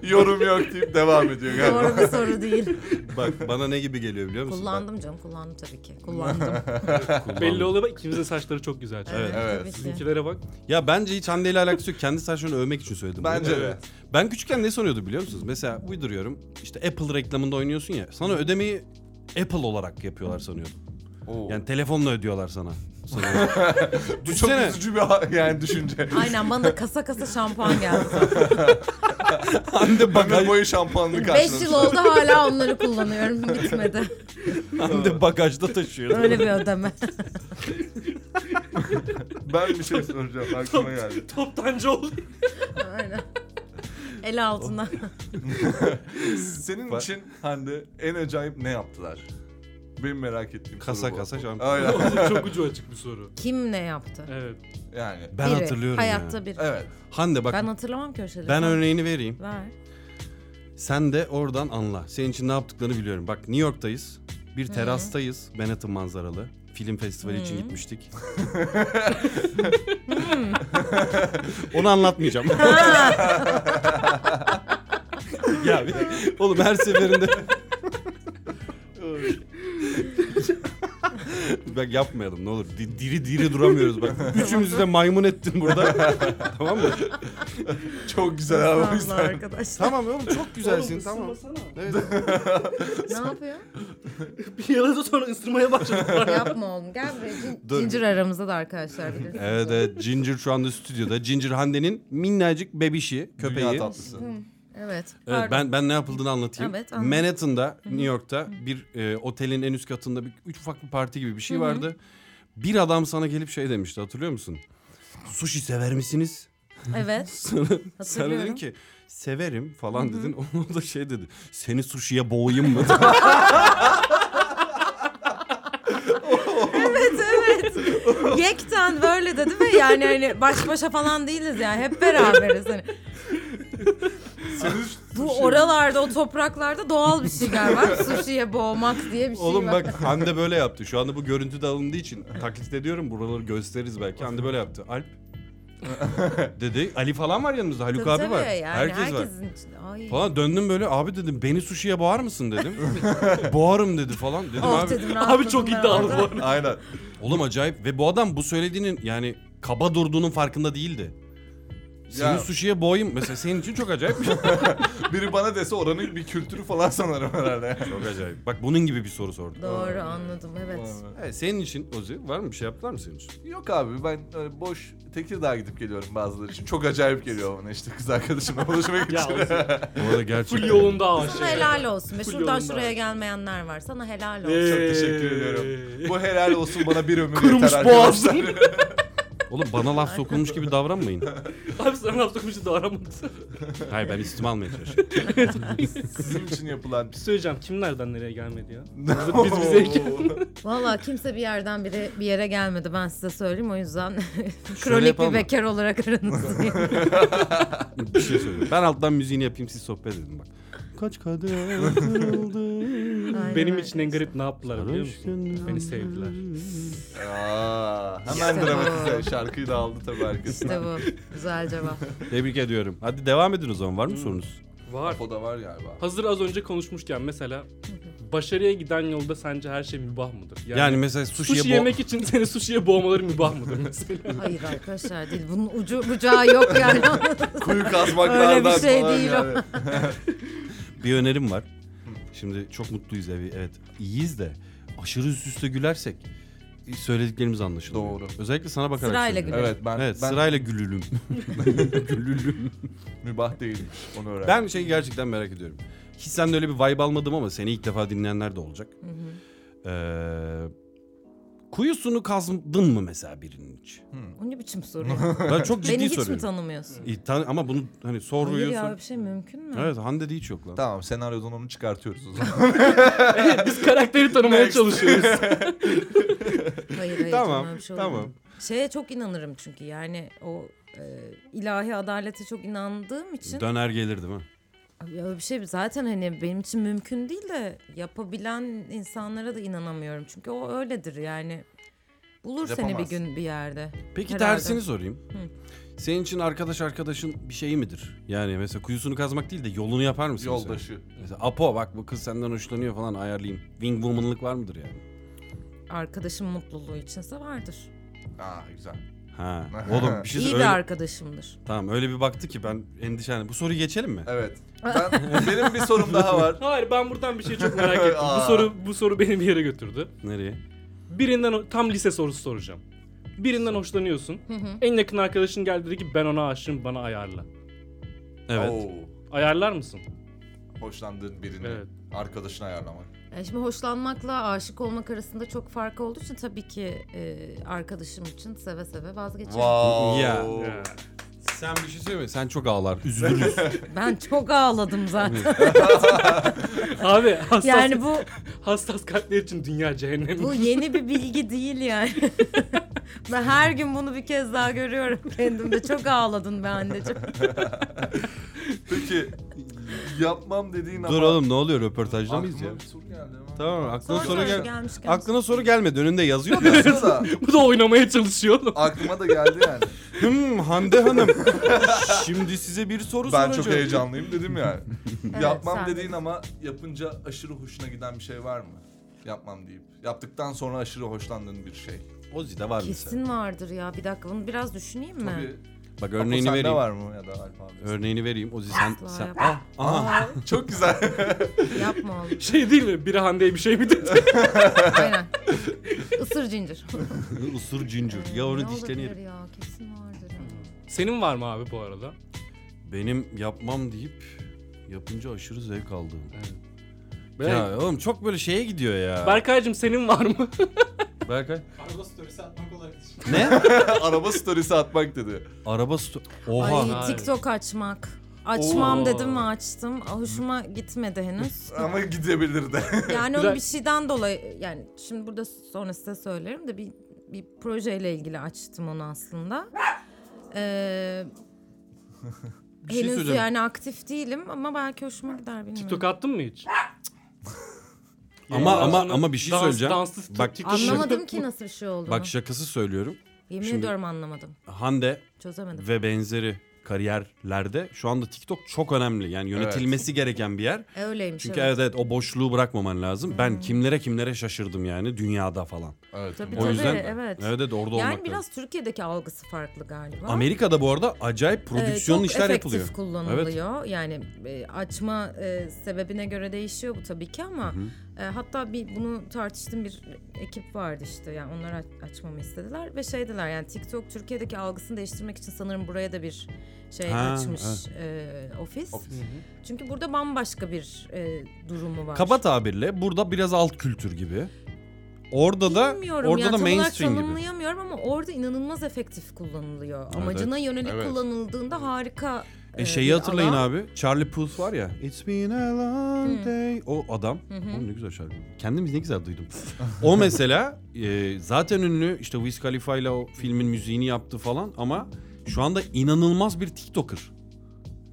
Speaker 4: Yorum yok deyip devam ediyor galiba.
Speaker 1: Doğru bir soru değil.
Speaker 2: bak bana ne gibi geliyor biliyor musun?
Speaker 1: Kullandım canım kullandım tabii ki. Kullandım.
Speaker 2: Ben-
Speaker 3: Belli oluyor bak ikimizin saçları çok güzel. çünkü.
Speaker 1: Evet,
Speaker 4: evet.
Speaker 1: tabii ki.
Speaker 3: Sizinkilere bak.
Speaker 2: Ya bence hiç Hande ile alakası yok. Kendi saçlarını övmek için söyledim. bunu.
Speaker 4: Bence de.
Speaker 2: Ben küçükken ne sanıyordum biliyor musunuz? Mesela uyduruyorum. İşte Apple reklamında oynuyorsun ya. Sana ödemeyi Apple olarak yapıyorlar sanıyordum.
Speaker 4: Oo.
Speaker 2: Yani telefonla ödüyorlar sana. sanıyordum.
Speaker 4: Bu çok
Speaker 2: Düşünsene.
Speaker 4: üzücü bir ha- yani düşünce.
Speaker 1: Aynen bana kasa kasa şampuan geldi.
Speaker 2: Hande
Speaker 4: Ömür
Speaker 2: bagaj,
Speaker 4: boyu şampuanlı
Speaker 1: 5 yıl
Speaker 4: karşılamış.
Speaker 1: oldu hala onları kullanıyorum. Bitmedi.
Speaker 2: Hande bagajda taşıyordu.
Speaker 1: Öyle bir ödeme.
Speaker 4: Ben bir şey soracağım aklıma geldi.
Speaker 3: Toptancı oldu.
Speaker 1: Aynen. El altına.
Speaker 4: Senin için Hande en acayip ne yaptılar? Benim merak ettiğim soru
Speaker 2: Kasa
Speaker 4: bu.
Speaker 2: kasa şampiyon.
Speaker 4: Aynen
Speaker 3: çok ucu açık bir soru.
Speaker 1: Kim ne yaptı?
Speaker 3: Evet.
Speaker 4: yani.
Speaker 2: Ben
Speaker 1: Biri.
Speaker 2: hatırlıyorum
Speaker 1: Hayatta
Speaker 2: ya.
Speaker 1: bir.
Speaker 4: Evet.
Speaker 2: Hande bak
Speaker 1: Ben
Speaker 2: ben,
Speaker 1: hatırlamam köşeleri.
Speaker 2: örneğini vereyim.
Speaker 1: Ver.
Speaker 2: Sen de oradan anla. Senin için ne yaptıklarını biliyorum. Bak New York'tayız. Bir terastayız. Manhattan manzaralı. Film festivali için gitmiştik. Onu anlatmayacağım. ya bir- oğlum her seferinde bak yapmayalım ne olur. Di- Diri diri duramıyoruz bak. Üçümüzü de maymun ettin burada. tamam mı?
Speaker 4: Çok güzel abi
Speaker 1: Sağ
Speaker 4: o
Speaker 1: olun
Speaker 4: yüzden.
Speaker 1: arkadaşlar.
Speaker 2: Tamam oğlum çok güzelsin tamam.
Speaker 1: ne yapıyor?
Speaker 3: Bir yaladı sonra ısırmaya başladılar.
Speaker 1: Yapma oğlum. Gel buraya. Cin-
Speaker 2: Dur.
Speaker 1: Cincir aramızda da arkadaşlar bilirsiniz.
Speaker 2: Evet evet Ginger şu anda stüdyoda. Ginger Hande'nin minnacık bebişi, köpeği.
Speaker 4: Dünya tatlısı.
Speaker 1: Evet.
Speaker 2: Evet,
Speaker 1: pardon.
Speaker 2: ben ben ne yapıldığını anlatayım.
Speaker 1: Evet, anlat.
Speaker 2: Manhattan'da, New York'ta bir e, otelin en üst katında bir üç ufak bir parti gibi bir şey vardı. Bir adam sana gelip şey demişti hatırlıyor musun? Sushi sever misiniz?
Speaker 1: Evet.
Speaker 2: Sana, sana
Speaker 1: Hatırlıyorum.
Speaker 2: dedim ki severim falan dedin. O da şey dedi. Seni sushi'ye boğayım mı?
Speaker 1: Evet evet. Yekten böyle dedi ve yani hani baş başa falan değiliz yani hep beraberiz. Hani. Bu oralarda o topraklarda doğal bir şey galiba. Sushi'ye boğmak diye bir şey
Speaker 2: Oğlum
Speaker 1: var.
Speaker 2: bak Hande böyle yaptı. Şu anda bu görüntü de alındığı için taklit ediyorum. Buraları gösteririz belki. Hande böyle yaptı. Alp dedi. Ali falan var yanımızda. Haluk
Speaker 1: Tabii,
Speaker 2: abi var.
Speaker 1: tabii yani
Speaker 2: Herkes var.
Speaker 1: herkesin içinde. Ay.
Speaker 2: Falan döndüm böyle abi dedim beni suşiye boğar mısın dedim. Boğarım dedi falan. Dedim
Speaker 1: Oh
Speaker 2: abi.
Speaker 1: dedim,
Speaker 3: Abi çok
Speaker 1: rahatladım ben
Speaker 3: iddialı bu
Speaker 1: orada.
Speaker 3: arada.
Speaker 4: Aynen.
Speaker 2: Oğlum acayip. Ve bu adam bu söylediğinin yani kaba durduğunun farkında değildi. Seni
Speaker 4: Ya.
Speaker 2: suşiye boğayım. Mesela senin için çok acayip bir şey.
Speaker 4: Biri bana dese oranın bir kültürü falan sanırım herhalde.
Speaker 2: Çok acayip. Bak bunun gibi bir soru sordum.
Speaker 1: Doğru anladım evet.
Speaker 2: Evet, senin için Ozi var mı bir şey yaptılar mı senin için?
Speaker 4: Yok abi ben öyle boş Tekirdağ'a gidip geliyorum bazıları için. Çok acayip geliyor bana işte kız arkadaşımla buluşmak
Speaker 3: ya
Speaker 4: için.
Speaker 3: olsun.
Speaker 2: Bu arada gerçekten.
Speaker 3: Full yolunda
Speaker 1: Sana
Speaker 3: aşık.
Speaker 1: helal olsun. Be.
Speaker 3: Full
Speaker 1: Şuradan
Speaker 3: yolunda.
Speaker 1: şuraya gelmeyenler var. Sana helal olsun.
Speaker 3: Ee,
Speaker 4: Çok teşekkür ediyorum. Bu helal olsun bana bir ömür
Speaker 3: Kurumuş
Speaker 4: yeter
Speaker 3: boğazın.
Speaker 4: arkadaşlar.
Speaker 2: Oğlum bana laf sokulmuş gibi davranmayın.
Speaker 3: Abi sana laf dokunmuşu da aramadı.
Speaker 2: Hayır ben istim almaya çalışıyorum.
Speaker 4: Sizin için yapılan bir
Speaker 3: şey Söyleyeceğim kim nereden nereye gelmedi ya?
Speaker 4: Biz bizeyken.
Speaker 1: Valla kimse bir yerden biri bir yere gelmedi ben size söyleyeyim o yüzden kronik
Speaker 2: yapalım
Speaker 1: bir
Speaker 2: mı?
Speaker 1: bekar olarak aranızdayım.
Speaker 2: bir şey söyleyeyim. Ben alttan müziğini yapayım siz sohbet edin bak. Kaç kadeh kırıldı.
Speaker 1: Aynen
Speaker 3: Benim
Speaker 1: öyle.
Speaker 3: için en garip ne yaptılar biliyor musun? Beni sevdiler.
Speaker 4: Aa,
Speaker 1: İşte
Speaker 4: hemen
Speaker 1: bu.
Speaker 4: dramatize şarkıyı da aldı tabii arkasından.
Speaker 1: İşte bu. Güzel cevap.
Speaker 2: Tebrik ediyorum. Hadi devam edin o zaman
Speaker 3: Hmm.
Speaker 2: var mı sorunuz?
Speaker 3: Var.
Speaker 4: O da var galiba.
Speaker 3: Hazır az önce konuşmuşken mesela başarıya giden yolda sence her şey mübah mıdır?
Speaker 2: Yani, mesela suşiye
Speaker 3: sushi
Speaker 2: bo-
Speaker 3: yemek için seni sushi'ye boğmaları mübah mıdır mesela?
Speaker 1: Hayır arkadaşlar değil. Bunun ucu bucağı yok yani.
Speaker 4: Kuyu kazmaklardan
Speaker 1: Öyle bir şey
Speaker 4: falan
Speaker 1: değil o.
Speaker 4: yani.
Speaker 2: bir önerim var. Şimdi çok mutluyuz evi. Evet iyiyiz de aşırı üst üste gülersek söylediklerimiz anlaşılmıyor.
Speaker 4: Doğru.
Speaker 2: Özellikle sana bakarak
Speaker 1: Sırayla
Speaker 2: söylüyorum.
Speaker 1: gülelim.
Speaker 4: Evet ben,
Speaker 2: Evet
Speaker 4: ben
Speaker 2: sırayla gülülüm. gülülüm.
Speaker 4: mübah değilmiş onu öğrendim.
Speaker 2: Ben şeyi gerçekten merak ediyorum. Hiç sen öyle bir vibe almadım ama seni ilk defa dinleyenler de olacak. Ee, kuyusunu kazdın mı mesela birinin için?
Speaker 1: O ne biçim soru ya?
Speaker 2: Ben çok ciddi
Speaker 1: Beni hiç mi
Speaker 2: soruyorum.
Speaker 1: tanımıyorsun?
Speaker 2: İyi, tan- ama bunu hani
Speaker 1: Hayır
Speaker 2: soruyu
Speaker 1: ya
Speaker 2: sor.
Speaker 1: öyle bir şey mümkün mü?
Speaker 2: Evet Hande'de hiç yok lan.
Speaker 4: Tamam senaryodan onu çıkartıyoruz o zaman.
Speaker 3: Biz karakteri tanımaya
Speaker 4: Next.
Speaker 3: çalışıyoruz.
Speaker 1: Hayır hayır.
Speaker 2: Tamam,
Speaker 1: canım, öyle bir şey olur mu?
Speaker 2: tamam.
Speaker 1: Şeye çok inanırım çünkü yani o e, ilahi adalete çok inandığım için
Speaker 2: Döner gelir değil mi?
Speaker 1: Abi öyle bir şey zaten hani benim için mümkün değil de yapabilen insanlara da inanamıyorum. Çünkü o öyledir yani. Bulur seni bir
Speaker 4: Yapamaz.
Speaker 1: gün bir yerde.
Speaker 2: Peki
Speaker 1: Herhalde.
Speaker 2: tersini sorayım. Senin için arkadaş arkadaşın bir şeyi midir? Yani mesela kuyusunu kazmak değil de yolunu yapar mısın? sen?
Speaker 4: Yoldaşı.
Speaker 2: Mesela Apo bak bu kız senden hoşlanıyor falan ayarlayayım. Wing woman'lık var mıdır yani?
Speaker 1: Arkadaşım mutluluğu içinse vardır.
Speaker 4: Aa güzel.
Speaker 2: Ha. Oğlum bir şey
Speaker 1: İyi
Speaker 2: öyle...
Speaker 1: bir arkadaşımdır.
Speaker 2: Tamam öyle bir baktı ki ben endişelendim. Bu soruyu geçelim mi?
Speaker 4: Evet. Ben, benim bir sorum daha var.
Speaker 3: Hayır ben buradan bir şey çok merak ettim.
Speaker 4: Aa.
Speaker 3: bu soru bu soru beni bir yere götürdü.
Speaker 2: Nereye?
Speaker 3: Birinden tam lise sorusu soracağım. Birinden hoşlanıyorsun. En yakın arkadaşın geldi dedi ki ben ona aşığım bana ayarla.
Speaker 2: Evet.
Speaker 4: Oo,
Speaker 3: Ayarlar mısın?
Speaker 4: hoşlandığın birini
Speaker 3: Evet.
Speaker 4: arkadaşına ayarlamak.
Speaker 1: Yani şimdi hoşlanmakla aşık olmak arasında çok fark olduğu için tabii ki e, arkadaşım için seve seve vazgeçerim.
Speaker 4: Wow.
Speaker 2: Ya.
Speaker 3: Ya.
Speaker 2: Sen bir şey söyleme. Sen çok ağlar. Üzülürüz.
Speaker 1: Ben çok ağladım zaten.
Speaker 3: Abi hassas,
Speaker 1: yani bu
Speaker 3: hassas kalpler için dünya cehennem.
Speaker 1: bu yeni bir bilgi değil yani. ben her gün bunu bir kez daha görüyorum kendimde. Çok ağladın be anneciğim.
Speaker 4: Peki yapmam dediğin ama...
Speaker 2: Dur oğlum ne oluyor röportajda mıyız ya?
Speaker 4: Aklıma bir soru geldi ama.
Speaker 2: Tamam aklına
Speaker 1: Sonra,
Speaker 2: soru gel.
Speaker 1: gelmiş gelmiş.
Speaker 2: Aklına soru gelmedi. Önünde yazıyor da.
Speaker 4: Aslında da
Speaker 3: bu da oynamaya çalışıyor oğlum.
Speaker 4: aklıma da geldi yani.
Speaker 2: Hım Hmm, Hande Hanım. Şimdi size bir soru
Speaker 4: ben
Speaker 2: soracağım.
Speaker 4: çok heyecanlıyım dedim yani.
Speaker 1: Evet,
Speaker 4: yapmam
Speaker 1: sen
Speaker 4: dediğin
Speaker 1: de.
Speaker 4: ama yapınca aşırı hoşuna giden bir şey var mı? Yapmam deyip. Yaptıktan sonra aşırı hoşlandığın bir şey.
Speaker 2: Ozi de var mesela.
Speaker 1: Kesin vardır ya. Bir dakika bunu biraz düşüneyim mi?
Speaker 4: Tabii.
Speaker 2: Bak
Speaker 4: Apo,
Speaker 2: örneğini
Speaker 4: sende
Speaker 2: vereyim.
Speaker 4: var mı ya da Alp abi?
Speaker 2: Örneğini vereyim. Ozi sen
Speaker 1: Asla
Speaker 2: sen.
Speaker 1: yapma.
Speaker 2: Ah, aha.
Speaker 4: Çok güzel.
Speaker 1: Yapma oğlum.
Speaker 3: Şey değil mi? Biri Hande'ye bir şey mi dedi?
Speaker 1: Aynen. Isır cincir.
Speaker 2: Isır Ah, cincir.
Speaker 1: Ee, ne
Speaker 2: Ya onu
Speaker 1: olabilir
Speaker 2: dişlerini yerim.
Speaker 1: ya kesin vardır. ya.
Speaker 3: Senin var mı abi bu arada?
Speaker 2: Benim yapmam deyip yapınca aşırı zevk aldığım.
Speaker 3: Ben-
Speaker 2: Ya oğlum çok böyle şeye gidiyor ya.
Speaker 3: Berkay'cığım senin var mı?
Speaker 2: Berkay.
Speaker 5: Araba storiesi atmak olarak düşün.
Speaker 2: Ne?
Speaker 4: Araba storiesi atmak dedi.
Speaker 2: Araba sto- Oha.
Speaker 1: Ay
Speaker 3: Hayır.
Speaker 1: TikTok açmak. Açmam
Speaker 3: Oo.
Speaker 1: dedim ve açtım. Ah, Hoşuma gitmedi henüz.
Speaker 4: Ama gidebilir de.
Speaker 1: Yani
Speaker 3: Güzel.
Speaker 1: onu bir şeyden dolayı yani şimdi burada sonra size söylerim de bir bir projeyle ilgili açtım onu aslında. Ee,
Speaker 2: Bir şey
Speaker 1: henüz
Speaker 2: söyleyeceğim.
Speaker 1: yani aktif değilim ama belki hoşuma gider bilmiyorum.
Speaker 3: TikTok attın mı hiç?
Speaker 2: Ama
Speaker 3: Ya,
Speaker 2: ama
Speaker 3: sonra
Speaker 2: ama bir şey
Speaker 3: dans-
Speaker 2: söyleyeceğim.
Speaker 3: danslı
Speaker 2: Bak-
Speaker 3: TikTok-
Speaker 1: Anlamadım ki nasıl bir şey olduğunu.
Speaker 2: Bak şakası söylüyorum.
Speaker 1: Yemin
Speaker 2: şimdi-
Speaker 1: ediyorum anlamadım.
Speaker 2: Hande
Speaker 1: Çözemedim.
Speaker 2: ve benzeri kariyerlerde şu anda TikTok çok önemli. Yani yönetilmesi gereken bir yer.
Speaker 1: E, Öyleymiş.
Speaker 2: Çünkü
Speaker 1: evet.
Speaker 2: evet evet o boşluğu bırakmaman lazım. Ben kimlere kimlere şaşırdım yani dünyada falan.
Speaker 4: Evet.
Speaker 1: Tabii,
Speaker 2: O
Speaker 1: tabii.
Speaker 2: yüzden
Speaker 1: evet.
Speaker 2: evet evet orada olmak
Speaker 1: Yani
Speaker 2: lazım.
Speaker 1: biraz Türkiye'deki algısı farklı galiba.
Speaker 2: Amerika'da bu arada acayip
Speaker 1: Ee,
Speaker 2: prodüksiyon
Speaker 1: çok
Speaker 2: işler
Speaker 1: efektif
Speaker 2: yapılıyor.
Speaker 1: kullanılıyor. Yani e, açma e, sebebine göre değişiyor bu tabii ki ama e, hatta bir bunu tartıştığım bir ekip vardı işte. Yani onlar aç- açmamı istediler ve şey dediler yani TikTok Türkiye'deki algısını değiştirmek için sanırım buraya da bir şey
Speaker 2: Ha,
Speaker 1: açmış e, ofis.
Speaker 4: Ofis.
Speaker 1: Çünkü burada bambaşka bir e, durumu var.
Speaker 2: Kaba tabirle burada biraz alt kültür gibi. Orada da
Speaker 1: Bilmiyorum
Speaker 2: orada
Speaker 1: yani
Speaker 2: da
Speaker 1: tam olarak
Speaker 2: mainstream gibi.
Speaker 1: tanımlayamıyorum ama orada inanılmaz efektif kullanılıyor.
Speaker 2: Evet,
Speaker 1: Amacına yönelik
Speaker 4: Evet.
Speaker 1: kullanıldığında harika
Speaker 2: E şeyi
Speaker 1: Ee, bir
Speaker 2: hatırlayın
Speaker 1: alan.
Speaker 2: abi. Charlie Puth var ya. It's been a long day. O adam. Oğlum ne güzel şarkı. Kendimiz ne güzel duydum. o mesela e, zaten ünlü işte Wiz Khalifa ile o filmin müziğini yaptı falan ama şu anda inanılmaz bir TikToker.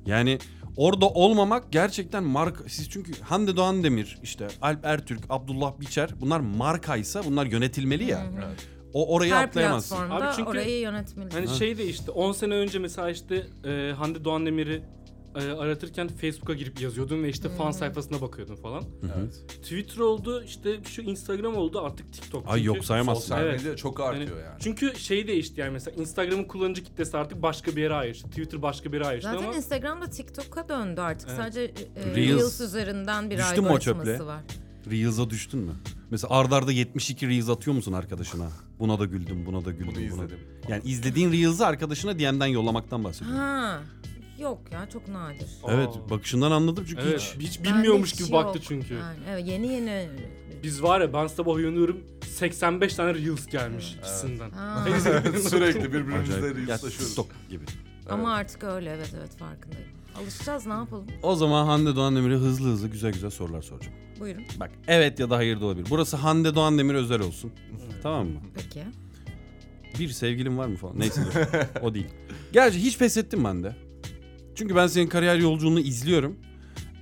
Speaker 2: Yani orada olmamak gerçekten marka. Siz çünkü Hande Doğan Demir, işte Alp Ertürk, Abdullah Biçer bunlar markaysa bunlar yönetilmeli ya. O orayı
Speaker 1: Her
Speaker 2: atlayamazsın.
Speaker 1: platformda
Speaker 3: Abi çünkü-
Speaker 1: orayı yönetmelisin.
Speaker 3: Hani şey de işte 10 sene önce mesela işte e, Hande Doğan Demir'i e, aratırken Facebook'a girip yazıyordun ve işte fan
Speaker 1: Hmm.
Speaker 3: sayfasına bakıyordun falan.
Speaker 4: Evet.
Speaker 3: Twitter oldu işte şu Instagram oldu artık TikTok.
Speaker 2: Ay
Speaker 3: Çünkü-
Speaker 2: yok sayamazsın.
Speaker 4: Sosyal
Speaker 3: Evet.
Speaker 4: medya çok
Speaker 3: Yani
Speaker 4: artıyor yani.
Speaker 3: Çünkü şey değişti yani mesela Instagram'ın kullanıcı kitlesi artık başka bir yere ayrıştı. Twitter başka bir yere ayrıştı
Speaker 1: Zaten
Speaker 3: ama
Speaker 1: Instagram'da TikTok'a döndü artık.
Speaker 3: Evet.
Speaker 1: Sadece e,
Speaker 2: Reels.
Speaker 1: Reels. üzerinden bir
Speaker 2: Düştün mü o çöple?
Speaker 1: algoritması var.
Speaker 2: Reels'a düştün mü? Mesela ardarda arda 72 Reels atıyor musun arkadaşına? Buna da güldüm, buna da güldüm.
Speaker 4: Bunu
Speaker 2: buna-
Speaker 4: izledim.
Speaker 2: Yani izlediğin Reels'ı arkadaşına DM'den yollamaktan bahsediyorum.
Speaker 1: Ha. Yok ya çok nadir.
Speaker 3: Aa.
Speaker 2: Evet, bakışından anladım çünkü
Speaker 3: Evet,
Speaker 2: hiç.
Speaker 3: hiç bilmiyormuş
Speaker 1: Bende
Speaker 3: gibi
Speaker 1: hiç şey
Speaker 3: baktı
Speaker 1: yok.
Speaker 3: çünkü.
Speaker 1: Yani, evet yeni yeni.
Speaker 3: Biz var ya ben sabah uyanıyorum 85 tane Reels gelmiş ikisinden.
Speaker 1: Ha.
Speaker 4: Sürekli birbirimizle
Speaker 2: Acayip. Ya,
Speaker 4: reelslaşıyoruz.
Speaker 2: TikTok gibi.
Speaker 1: Ama artık öyle evet evet farkındayım. Alışacağız ne yapalım?
Speaker 2: O zaman Hande Doğan Demir'e hızlı hızlı güzel güzel sorular soracağım.
Speaker 1: Buyurun.
Speaker 2: Bak evet ya da hayır da olabilir. Burası Hande Doğan Demir özel olsun. tamam mı?
Speaker 1: Peki.
Speaker 2: Bir sevgilin var mı falan. Neyse dur. o değil. Gerçi hiç pes ettin mi Hande? Çünkü ben senin kariyer yolculuğunu izliyorum.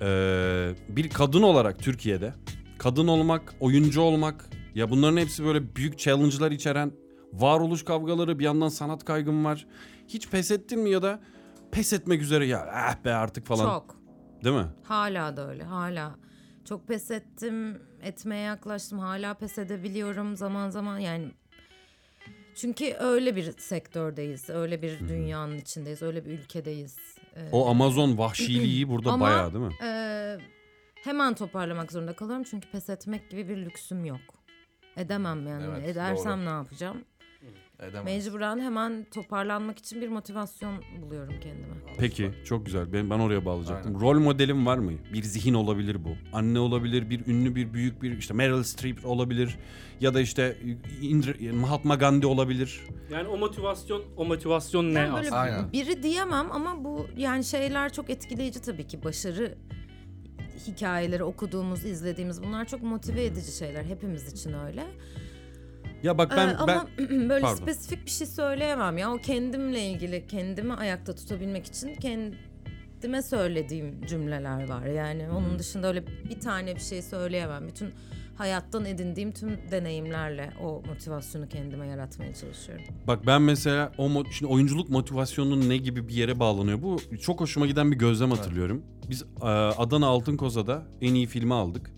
Speaker 2: Ee, bir kadın olarak Türkiye'de kadın olmak, oyuncu olmak ya bunların hepsi böyle büyük challenge'lar içeren varoluş kavgaları bir yandan sanat kaygım var. Hiç pes ettin mi ya da pes etmek üzere ya ah be artık falan
Speaker 1: Çok.
Speaker 2: değil mi?
Speaker 1: Hala da öyle hala. Çok pes ettim, etmeye yaklaştım. Hala pes edebiliyorum zaman zaman yani. Çünkü öyle bir sektördeyiz, öyle bir dünyanın içindeyiz, öyle bir ülkedeyiz. Ee,
Speaker 2: O Amazon vahşiliği burada
Speaker 1: Ama-
Speaker 2: bayağı değil mi?
Speaker 1: ee, hemen toparlamak zorunda kalıyorum çünkü pes etmek gibi bir lüksüm yok. Edemem yani.
Speaker 4: Evet,
Speaker 1: Edersem
Speaker 4: doğru.
Speaker 1: ne yapacağım?
Speaker 4: Edemez.
Speaker 1: Mecburen hemen toparlanmak için bir motivasyon buluyorum kendime.
Speaker 2: Peki çok güzel. Ben, ben oraya bağlayacaktım. Rol modelim var mı? Bir zihin olabilir bu. Anne olabilir, bir ünlü, bir büyük bir işte Meryl Streep olabilir ya da işte Indra- Mahatma Gandhi olabilir.
Speaker 3: Yani o motivasyon, o motivasyon ne
Speaker 1: Ben böyle
Speaker 3: aslında?
Speaker 4: Aynen.
Speaker 1: biri diyemem ama bu yani şeyler çok etkileyici tabii ki başarı hikayeleri okuduğumuz, izlediğimiz bunlar çok motive edici şeyler hepimiz için öyle.
Speaker 2: Ya bak
Speaker 1: Ee,
Speaker 2: ben ben
Speaker 1: ama böyle
Speaker 2: Pardon.
Speaker 1: spesifik bir şey söyleyemem ya. O kendimle ilgili kendimi ayakta tutabilmek için kendime söylediğim cümleler var. Yani onun dışında öyle bir tane bir şey söyleyemem. Bütün hayattan edindiğim tüm deneyimlerle o motivasyonu kendime yaratmaya çalışıyorum.
Speaker 2: Bak ben mesela o mo- şimdi oyunculuk motivasyonunun ne gibi bir yere bağlanıyor? Bu çok hoşuma giden bir gözlem hatırlıyorum. Biz e, Adana Altın Koza'da en iyi filmi aldık.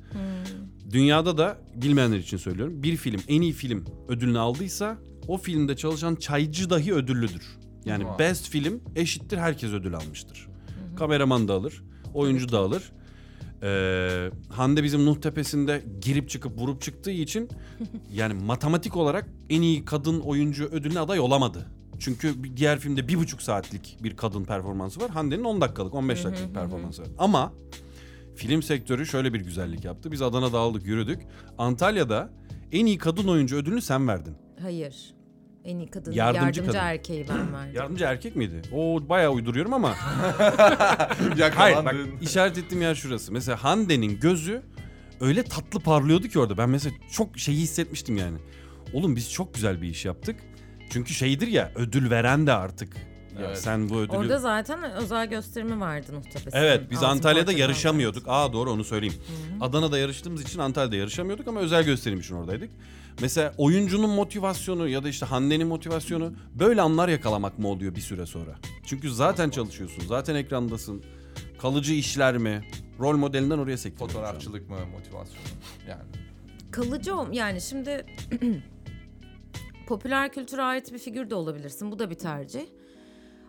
Speaker 2: Dünyada da bilmeyenler için söylüyorum. Bir film en iyi film ödülünü aldıysa o filmde çalışan çaycı dahi ödüllüdür. Yani
Speaker 4: Vay.
Speaker 2: best film eşittir herkes ödül almıştır. Kameraman da alır, oyuncu da alır. Ee, Hande bizim Nuh Tepesi'nde girip çıkıp vurup çıktığı için yani matematik olarak en iyi kadın oyuncu ödülüne aday olamadı. Çünkü bir- diğer filmde bir buçuk saatlik bir kadın performansı var. Hande'nin 10 dakikalık, 15 dakikalık performansı var. Ama film sektörü şöyle bir güzellik yaptı. Biz Adana'da aldık, yürüdük. Antalya'da en iyi kadın oyuncu ödülünü sen verdin.
Speaker 1: Hayır. En iyi kadın,
Speaker 2: Yardımcı
Speaker 1: yardımcı,
Speaker 2: kadın.
Speaker 1: erkeği ben verdim.
Speaker 2: Yardımcı erkek miydi? O bayağı uyduruyorum ama Hayır bak
Speaker 4: Yakalandın.
Speaker 2: işaret ettiğim yer şurası. Mesela Hande'nin gözü öyle tatlı parlıyordu ki orada. Ben mesela çok şeyi hissetmiştim yani. Oğlum biz çok güzel bir iş yaptık. Çünkü şeydir ya ödül veren de artık. Ya
Speaker 4: Evet.
Speaker 2: sen bu ödülü...
Speaker 1: Orada zaten özel gösterimi vardı Nuhtepesi'nin.
Speaker 2: Evet biz
Speaker 1: Altın
Speaker 2: Antalya'da
Speaker 1: Portakal'da.
Speaker 2: yarışamıyorduk. Aa doğru onu söyleyeyim. Adana'da yarıştığımız için Antalya'da yarışamıyorduk ama özel gösterim için oradaydık. Mesela oyuncunun motivasyonu ya da işte Hande'nin motivasyonu böyle anlar yakalamak mı oluyor bir süre sonra? Çünkü zaten çalışıyorsun, zaten ekrandasın. Kalıcı işler mi? Rol modelinden oraya sektim.
Speaker 4: Fotoğrafçılık mı motivasyon mu? Yani.
Speaker 1: Kalıcı ol- yani şimdi popüler kültüre ait bir figür de olabilirsin. Bu da bir tercih.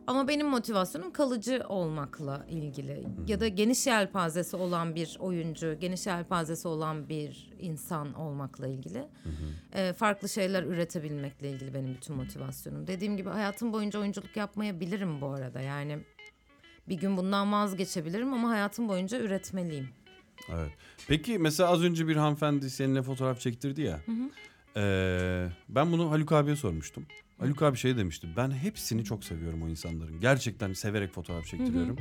Speaker 1: Ama benim motivasyonum kalıcı olmakla ilgili. Ya da geniş yelpazesi olan bir oyuncu, geniş yelpazesi olan bir insan olmakla ilgili. Ee, farklı şeyler üretebilmekle ilgili benim bütün motivasyonum. Dediğim gibi hayatım boyunca oyunculuk yapmayabilirim bu arada. Yani bir gün bundan vazgeçebilirim ama hayatım boyunca üretmeliyim.
Speaker 2: Evet. Peki mesela az önce bir hanımefendi seninle fotoğraf çektirdi ya. Ee, ben bunu Haluk abiye sormuştum. Haluk abi şey demişti. Ben hepsini çok seviyorum o insanların. Gerçekten severek fotoğraf çektiriyorum.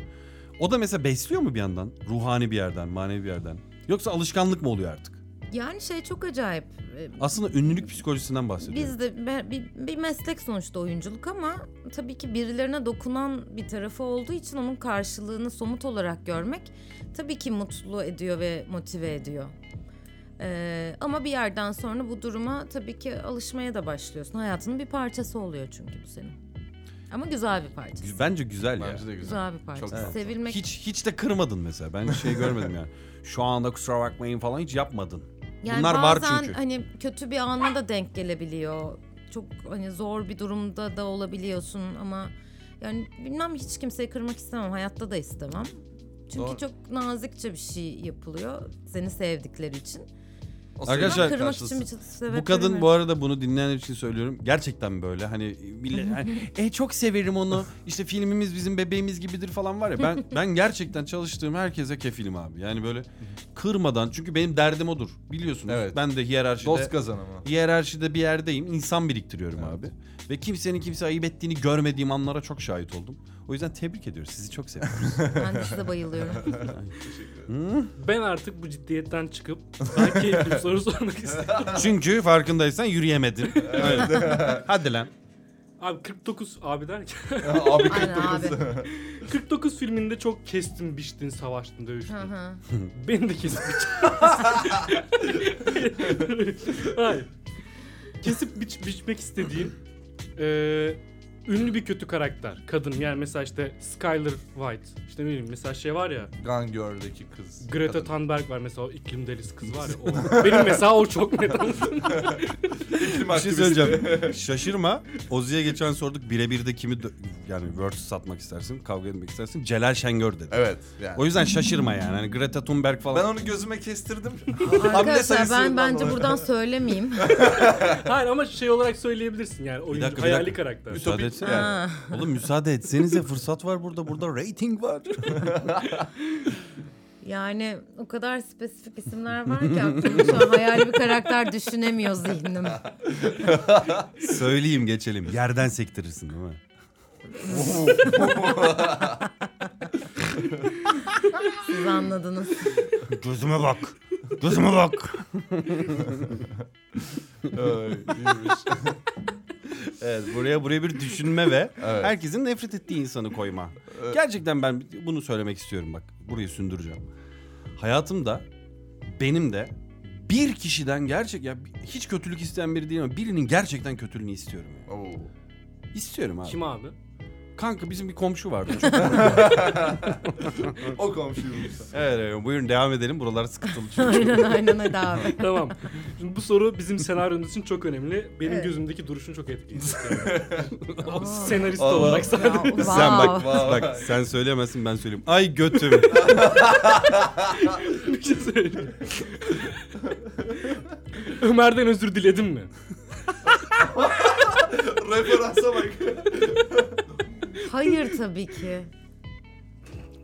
Speaker 2: O da mesela besliyor mu bir yandan? Ruhani bir yerden, manevi bir yerden. Yoksa alışkanlık mı oluyor artık?
Speaker 1: Yani şey çok acayip. Ee,
Speaker 2: Aslında ünlülük psikolojisinden bahsediyorum.
Speaker 1: Biz de be- bir, bir meslek sonuçta oyunculuk ama tabii ki birilerine dokunan bir tarafı olduğu için onun karşılığını somut olarak görmek tabii ki mutlu ediyor ve motive ediyor. Ee, ama bir yerden sonra bu duruma tabii ki alışmaya da başlıyorsun. Hayatının bir parçası oluyor çünkü bu senin. Ama güzel bir parçası.
Speaker 2: Gü- Bence güzel ya.
Speaker 4: Bence de güzel.
Speaker 1: Güzel bir parçası.
Speaker 4: tatlı.
Speaker 1: Sevilmek
Speaker 2: Hiç hiç de kırmadın mesela. Ben şey görmedim yani. Şu anda kusura bakmayın falan hiç yapmadın.
Speaker 1: Yani
Speaker 2: Bunlar var
Speaker 1: bazen
Speaker 2: çünkü.
Speaker 1: hani kötü bir ana da denk gelebiliyor. Çok hani zor bir durumda da olabiliyorsun ama yani bilmem hiç kimseyi kırmak istemem. Hayatta da istemem. Çünkü
Speaker 4: Doğru.
Speaker 1: çok nazikçe bir şey yapılıyor seni sevdikleri için.
Speaker 4: O
Speaker 2: Arkadaşlar-
Speaker 1: Ben
Speaker 4: senin
Speaker 1: kırmak
Speaker 4: karşısın.
Speaker 1: için bir sebep
Speaker 2: Bu kadın bu
Speaker 1: veremiyorum.
Speaker 2: arada bunu dinleyenler için söylüyorum. Gerçekten böyle hani millet hani, e çok severim onu. İşte filmimiz bizim bebeğimiz gibidir falan var ya. Ben ben gerçekten çalıştığım herkese kefilim abi. Yani böyle kırmadan çünkü benim derdim odur. Biliyorsunuz.
Speaker 4: Evet.
Speaker 2: Ben de hiyerarşide
Speaker 4: Dost kazanımı.
Speaker 2: hiyerarşide bir yerdeyim. İnsan biriktiriyorum
Speaker 4: Evet.
Speaker 2: abi. Ve kimsenin kimse ayıp ettiğini görmediğim anlara çok şahit oldum. O yüzden tebrik ediyoruz. Sizi çok seviyorum.
Speaker 1: Ben de size bayılıyorum.
Speaker 3: Ben artık bu ciddiyetten çıkıp daha keyifli bir soru sormak istiyorum.
Speaker 2: Çünkü farkındaysan yürüyemedin. Öyle. Hadi lan.
Speaker 3: Abi 49 abi derken
Speaker 4: abi
Speaker 1: Aynen abi.
Speaker 4: 49.
Speaker 3: 49 filminde çok kestin, biçtin, savaştın, dövüştün.
Speaker 1: Hı hı.
Speaker 3: Beni de kesip biç- Hayır. Kesip biç- biçmek istediğin e, ünlü bir kötü karakter. Kadın yani mesela işte Skyler White. İşte ne bileyim mesela şey var ya
Speaker 4: Gun Girl'deki kız.
Speaker 3: Greta
Speaker 4: Kadın.
Speaker 3: Thunberg var mesela o iklim delisi kız var ya. O, benim mesela o çok net.
Speaker 4: İklim
Speaker 2: Bir şey
Speaker 4: aktivisti.
Speaker 2: söyleyeceğim. Şaşırma. Ozi'ye geçen sorduk birebir de kimi dö- yani versus satmak istersin, kavga etmek istersin. Celal Şengör dedi.
Speaker 4: Evet. Yani.
Speaker 2: O yüzden şaşırma yani. Hani Greta Thunberg
Speaker 4: Ben
Speaker 2: falan.
Speaker 4: onu gözüme kestirdim.
Speaker 1: Arkadaşlar ben
Speaker 4: sayısından
Speaker 1: bence
Speaker 4: dolayı.
Speaker 1: buradan söylemeyeyim.
Speaker 3: Hayır ama şey olarak söyleyebilirsin yani oyuncu
Speaker 2: dakika, bir
Speaker 3: hayali
Speaker 2: dakika.
Speaker 3: karakter.
Speaker 2: Müsaade etsene.
Speaker 1: Ha.
Speaker 2: Oğlum müsaade etsenize fırsat var burada. Burada rating var.
Speaker 1: Yani o kadar spesifik isimler var ki aklımda şu an hayali bir karakter düşünemiyor zihnim.
Speaker 2: Söyleyeyim geçelim. Yerden sektirirsin değil mi?
Speaker 1: Siz anladınız.
Speaker 2: Gözüme bak. Gözüme bak.
Speaker 4: Ay, iyiymiş.
Speaker 2: Evet buraya buraya bir düşünme ve
Speaker 4: Evet.
Speaker 2: herkesin nefret ettiği insanı koyma. Gerçekten ben bunu söylemek istiyorum bak. Burayı sündüreceğim. Hayatımda benim de bir kişiden gerçek ya hiç kötülük isteyen biri değil ama birinin gerçekten kötülüğünü istiyorum. yani.
Speaker 4: Oo.
Speaker 2: İstiyorum abi.
Speaker 3: Kim abi?
Speaker 2: Kanka bizim bir komşu vardı. Çok...
Speaker 4: O komşuymuş.
Speaker 2: evet, evet, buyurun devam edelim. Buralar sıkıntılı çünkü.
Speaker 1: aynen aynen hadi abi.
Speaker 3: tamam. Şimdi bu soru bizim senaryomuz için çok önemli. Benim
Speaker 1: Evet.
Speaker 3: gözümdeki duruşun çok etkileyecek.
Speaker 1: Aa.
Speaker 3: Yani. Senarist
Speaker 4: Allah.
Speaker 3: olarak
Speaker 1: Ya,
Speaker 3: sadece.
Speaker 2: sen bak,
Speaker 1: wow.
Speaker 4: Vay.
Speaker 2: bak sen söyleyemezsin ben söyleyeyim. Ay götüm.
Speaker 3: Bir şey söyleyeyim. Ömer'den özür diledin mi?
Speaker 4: Referansa bak.
Speaker 1: Hayır tabii ki.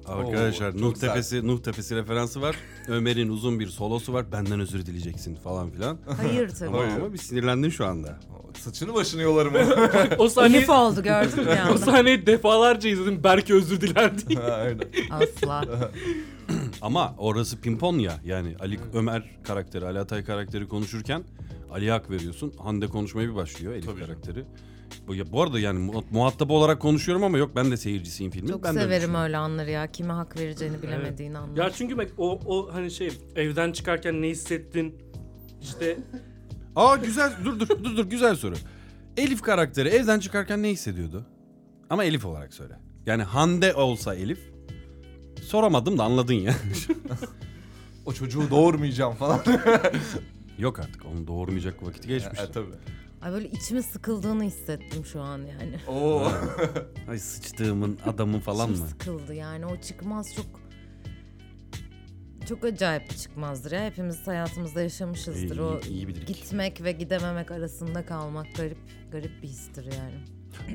Speaker 2: Arkadaşlar
Speaker 4: Oo, çok
Speaker 2: Nuh
Speaker 4: sert.
Speaker 2: Tepesi, Nuh Tepesi referansı var. Ömer'in uzun bir solosu var. Benden özür dileyeceksin falan filan.
Speaker 1: Hayır
Speaker 2: Ama,
Speaker 1: tabii.
Speaker 4: Hayır.
Speaker 2: ama bir sinirlendin şu anda.
Speaker 4: Saçını başını yolarım onu.
Speaker 3: O sahneyi,
Speaker 1: Elif oldu gördün mü
Speaker 3: o
Speaker 1: yani?
Speaker 3: sahneyi defalarca izledim. Belki özür diler diye.
Speaker 4: Aynen.
Speaker 1: Asla.
Speaker 2: Ama orası pimpon ya. Yani Ali Ömer karakteri, Ali Atay karakteri konuşurken Ali hak veriyorsun. Hande konuşmaya bir başlıyor Elif
Speaker 4: Tabii canım.
Speaker 2: karakteri. Bu, ya, bu arada yani mu- muhatap olarak konuşuyorum ama yok ben de seyircisiyim filmin.
Speaker 1: Çok
Speaker 2: ben de
Speaker 1: severim
Speaker 2: düşünüyorum.
Speaker 1: öyle anları ya. Kime hak vereceğini bilemediğin anlar.
Speaker 3: Ya çünkü bak o, o hani şey evden çıkarken ne hissettin? İşte
Speaker 2: Aa güzel dur dur dur dur güzel soru. Elif karakteri evden çıkarken ne hissediyordu? Ama Elif olarak söyle. Yani Hande olsa Elif soramadım da anladın ya.
Speaker 4: O çocuğu doğurmayacağım falan.
Speaker 2: Yok artık onu doğurmayacak vakit geçmiş.
Speaker 4: e, tabii.
Speaker 1: Ay böyle içime sıkıldığını hissettim şu an yani.
Speaker 4: Oo.
Speaker 2: Ay sıçtığımın adamın falan
Speaker 1: İçim
Speaker 2: mı?
Speaker 1: sıkıldı yani. O çıkmaz çok çok acayip bir çıkmazdır ya. Hepimiz hayatımızda yaşamışızdır.
Speaker 2: İyi-
Speaker 1: o
Speaker 2: iyi bilirik.
Speaker 1: gitmek ve gidememek arasında kalmak garip garip bir histir yani.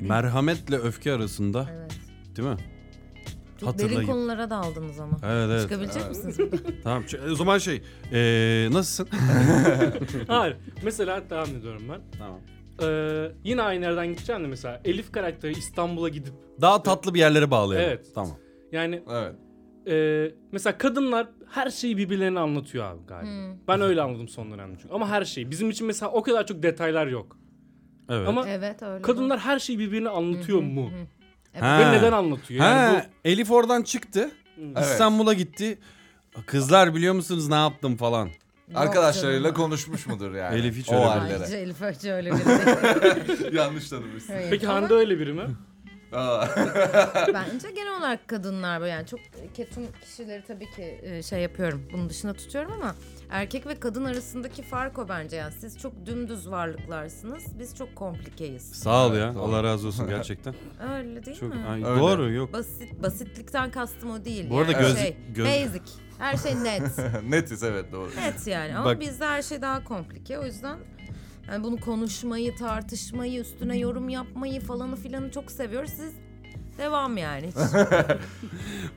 Speaker 2: Merhametle öfke arasında
Speaker 1: Evet.
Speaker 2: değil mi?
Speaker 1: Çok
Speaker 2: Hatırlayın.
Speaker 1: derin konulara daldınız ama.
Speaker 2: Evet evet.
Speaker 1: Çıkabilecek misiniz?
Speaker 2: Tamam ç- o zaman şey ee, nasılsın?
Speaker 3: hayır. Mesela devam ediyorum ben.
Speaker 2: tamam.
Speaker 3: Ee, yine aynı yerden gideceğim de mesela Elif karakteri İstanbul'a gidip
Speaker 2: Daha tatlı bir yerlere bağlayalım.
Speaker 3: Evet.
Speaker 2: Tamam.
Speaker 3: yani
Speaker 4: Evet.
Speaker 3: e, mesela kadınlar her şeyi birbirlerine anlatıyor abi galiba.
Speaker 1: Hmm.
Speaker 3: Ben öyle anladım son dönemde çünkü. Ama her şeyi. Bizim için mesela o kadar çok detaylar yok.
Speaker 2: Evet.
Speaker 3: Ama
Speaker 1: evet öyle.
Speaker 3: kadınlar her şeyi birbirine anlatıyor mu?
Speaker 2: Ha.
Speaker 3: Ve neden anlatıyor? Yani
Speaker 2: ha, Elif oradan çıktı.
Speaker 4: Evet.
Speaker 2: İstanbul'a gitti. Kızlar biliyor musunuz ne yaptım falan.
Speaker 1: Yok
Speaker 4: Arkadaşlarıyla
Speaker 1: canım.
Speaker 4: konuşmuş mudur yani?
Speaker 2: Elif hiç
Speaker 4: O
Speaker 2: öyle
Speaker 4: hallere.
Speaker 1: Ayrıca Elif Öcü öyle biri değil.
Speaker 4: Yanlış tanımışsın.
Speaker 1: Hayır.
Speaker 3: bu... Peki
Speaker 1: Ama
Speaker 3: Hande öyle biri mi?
Speaker 4: Aa.
Speaker 1: Bence genel olarak kadınlar böyle yani çok ketum kişileri tabii ki e, şey yapıyorum. Bunun dışına tutuyorum ama erkek ve kadın arasındaki fark o bence yani. Siz çok dümdüz varlıklarsınız. Biz çok komplikeyiz.
Speaker 2: Sağ ol ya.
Speaker 4: Evet, doğru.
Speaker 2: Allah razı olsun gerçekten.
Speaker 1: Öyle değil
Speaker 2: Çok
Speaker 1: mi?
Speaker 2: Ay,
Speaker 4: Öyle.
Speaker 2: doğru yok.
Speaker 1: Basit basitlikten kastım o değil.
Speaker 2: Bu arada
Speaker 1: yani.
Speaker 2: göz-
Speaker 1: şey,
Speaker 2: göz-
Speaker 1: basic. Her şey net.
Speaker 4: Netiz evet doğru.
Speaker 1: net yani. Ama
Speaker 2: Bak-
Speaker 1: bizde her şey daha komplike. O yüzden yani bunu konuşmayı, tartışmayı, üstüne yorum yapmayı falanı filanı çok seviyoruz. Siz devam yani. Hiç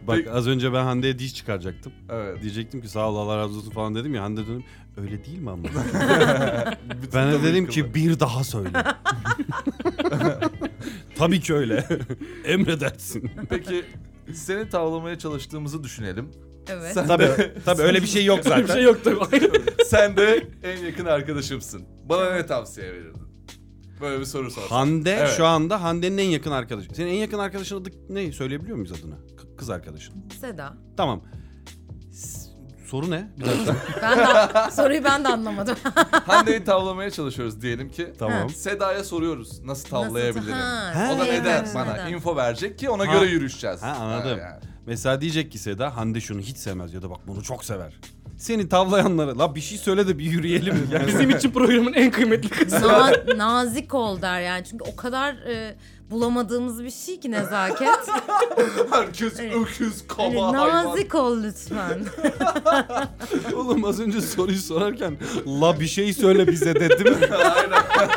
Speaker 2: Bak az önce ben Hande'ye diş çıkaracaktım.
Speaker 4: Evet.
Speaker 2: Diyecektim ki sağ ol Allah razı olsun falan dedim ya Hande dönüp öyle değil mi ama?
Speaker 4: Bütün
Speaker 2: ben de
Speaker 4: tabii
Speaker 2: dedim
Speaker 4: yıkıldı.
Speaker 2: ki bir daha söyle. Tabii ki öyle. Emredersin.
Speaker 4: Peki seni tavlamaya çalıştığımızı düşünelim.
Speaker 1: evet.
Speaker 4: Sen de,
Speaker 2: tabii tabii öyle bir şey yok zaten.
Speaker 3: Öyle bir şey yok tabii.
Speaker 4: sen de en yakın arkadaşımsın. Bana ne tavsiye verirdin? Böyle bir soru sorsak.
Speaker 2: Hande
Speaker 4: Evet.
Speaker 2: şu anda Hande'nin en yakın arkadaşı. Senin en yakın arkadaşın adı ne? Söyleyebiliyor muyuz adını? K- Kız arkadaşın.
Speaker 1: Seda.
Speaker 2: Tamam. S- Soru ne? Bir dakika.
Speaker 1: Ben de, soruyu ben de anlamadım.
Speaker 4: Hande'yi tavlamaya çalışıyoruz diyelim ki.
Speaker 2: tamam.
Speaker 4: Seda'ya soruyoruz nasıl tavlayabilirim.
Speaker 1: Ha,
Speaker 2: Ha.
Speaker 4: O da
Speaker 1: evet,
Speaker 4: neden
Speaker 1: evet,
Speaker 4: bana
Speaker 1: neden?
Speaker 4: info verecek ki ona
Speaker 2: Ha.
Speaker 4: göre yürüşeceğiz.
Speaker 2: Ha, anladım.
Speaker 4: yani.
Speaker 2: Mesela diyecek ki Seda Hande şunu hiç sevmez ya da bak bunu çok sever. Seni tavlayanlara la bir şey söyle de bir yürüyelim. Yani.
Speaker 3: Bizim için programın en kıymetli kısmı.
Speaker 1: Na- nazik ol der yani. Çünkü o kadar e, bulamadığımız bir şey ki nezaket.
Speaker 4: Herkes
Speaker 1: Evet.
Speaker 4: öküz, kaba
Speaker 1: Hani
Speaker 4: hayvan.
Speaker 1: nazik ol lütfen.
Speaker 2: Oğlum az önce soruyu sorarken la bir şey söyle bize dedim.
Speaker 4: Aynen.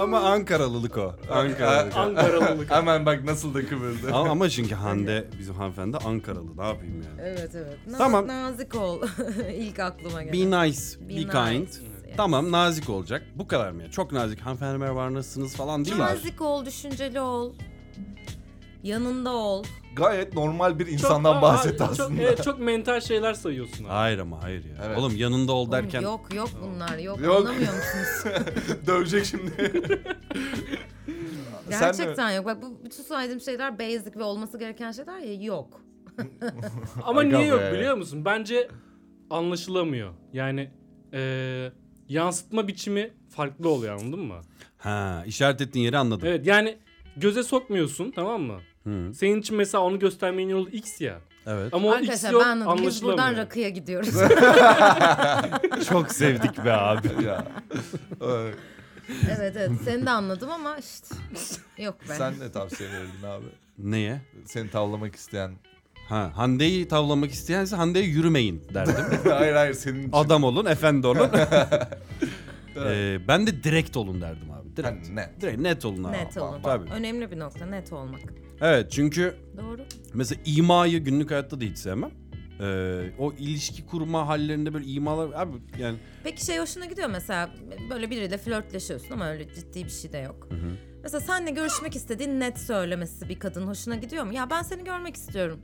Speaker 2: Ama Ankaralılık o. Ankaralılık.
Speaker 3: Ankaralılık.
Speaker 4: Hemen bak nasıl da kıvırdı.
Speaker 2: ama, ama çünkü Hande bizim hanımefendi Ankaralı ne yapayım yani.
Speaker 1: evet evet. Na-
Speaker 2: Tamam.
Speaker 1: Nazik ol. İlk aklıma
Speaker 2: Be
Speaker 1: gelen.
Speaker 2: nice, be,
Speaker 1: Be nice.
Speaker 2: kind.
Speaker 1: Evet.
Speaker 2: Tamam nazik olacak. Bu kadar mı? ya? Çok nazik. Hanımefendi merhaba nasılsınız falan değil mi?
Speaker 1: Nazik ol, düşünceli ol. Yanında ol.
Speaker 4: Gayet normal bir
Speaker 3: Çok-
Speaker 4: insandan
Speaker 3: aa,
Speaker 4: bahset
Speaker 3: çok-
Speaker 4: aslında.
Speaker 3: evet, Çok, mental şeyler sayıyorsun. abi.
Speaker 2: Hayır ama hayır ya.
Speaker 4: Evet.
Speaker 2: Oğlum yanında ol
Speaker 1: Oğlum
Speaker 2: derken
Speaker 1: Yok yok bunlar yok.
Speaker 4: Yok.
Speaker 1: Anlamıyor musunuz?
Speaker 4: Dövecek şimdi. Sen de-
Speaker 1: Gerçekten yok. Bak bu bütün saydığım şeyler basic ve olması gereken şeyler ya yok.
Speaker 3: Ama
Speaker 4: Aga
Speaker 3: niye yok
Speaker 4: be.
Speaker 3: biliyor musun? Bence anlaşılamıyor. Yani eee, yansıtma biçimi farklı oluyor anladın mı?
Speaker 2: ha işaret ettiğin yeri anladım.
Speaker 3: Evet yani göze sokmuyorsun tamam mı?
Speaker 2: Hı,
Speaker 3: Senin için mesela onu göstermenin yolu X ya.
Speaker 2: evet.
Speaker 3: Ama o X
Speaker 1: Arkadaşlar
Speaker 3: yok
Speaker 1: ben anladım. Biz buradan
Speaker 3: anlaşılamıyor.
Speaker 1: rakıya gidiyoruz.
Speaker 2: Çok sevdik be abi.
Speaker 4: ya. Ee,
Speaker 1: evet evet seni de anladım ama işte yok be.
Speaker 4: Sen ne tavsiye verirdin abi?
Speaker 2: Neye?
Speaker 4: Seni tavlamak isteyen.
Speaker 2: Ha Hande'yi tavlamak isteyense Hande'ye yürümeyin derdim.
Speaker 4: hayır hayır senin için.
Speaker 2: Adam olun, efendi olun. Ee, ben de direkt olun derdim abi.
Speaker 4: Ha,
Speaker 2: Direkt.
Speaker 4: ne?
Speaker 2: Direkt net olun abi.
Speaker 1: net
Speaker 4: Tamam,
Speaker 1: olmak.
Speaker 2: tabii.
Speaker 1: Önemli bir nokta net olmak.
Speaker 2: Evet çünkü
Speaker 1: Doğru.
Speaker 2: Mesela imayı günlük hayatta da hiç sevmem. Ee, o ilişki kurma hallerinde böyle imalar abi yani
Speaker 1: Peki şey hoşuna gidiyor mesela böyle biriyle flörtleşiyorsun ama öyle ciddi bir şey de yok. Mesela seninle görüşmek istediğin net söylemesi bir kadın hoşuna gidiyor mu? Ya ben seni görmek istiyorum.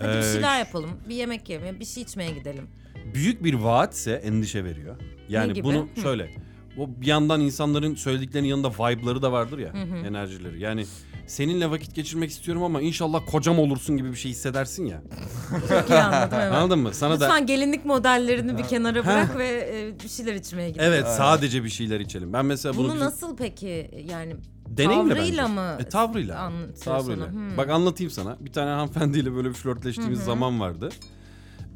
Speaker 1: Hadi bir
Speaker 2: Ee,
Speaker 1: şeyler yapalım. Bir yemek yemeye, bir şey içmeye gidelim.
Speaker 2: büyük bir vaatse endişe veriyor.
Speaker 1: Ne
Speaker 2: Yani
Speaker 1: gibi?
Speaker 2: bunu
Speaker 1: Hı.
Speaker 2: şöyle o bir yandan insanların söylediklerinin yanında vibe'ları da vardır ya
Speaker 1: Hı hı.
Speaker 2: enerjileri. Yani seninle vakit geçirmek istiyorum ama inşallah kocam olursun gibi bir şey hissedersin ya.
Speaker 1: Çok iyi anladım evet.
Speaker 2: Anladın mı? Sana da
Speaker 1: Lütfen gelinlik modellerini bir kenara bırak ve e, bir şeyler içmeye gidelim.
Speaker 2: evet sadece bir şeyler içelim. Ben mesela bunu,
Speaker 1: Bunu
Speaker 2: bizim-
Speaker 1: nasıl peki yani
Speaker 2: Deneyimle
Speaker 1: Tavrıyla
Speaker 2: bence.
Speaker 1: mı
Speaker 2: E, tavrıyla.
Speaker 1: anlatıyorsun
Speaker 2: Tavrıyla.
Speaker 1: onu? Hmm.
Speaker 2: Bak anlatayım sana. Bir tane hanımefendiyle böyle bir flörtleştiğimiz zaman vardı.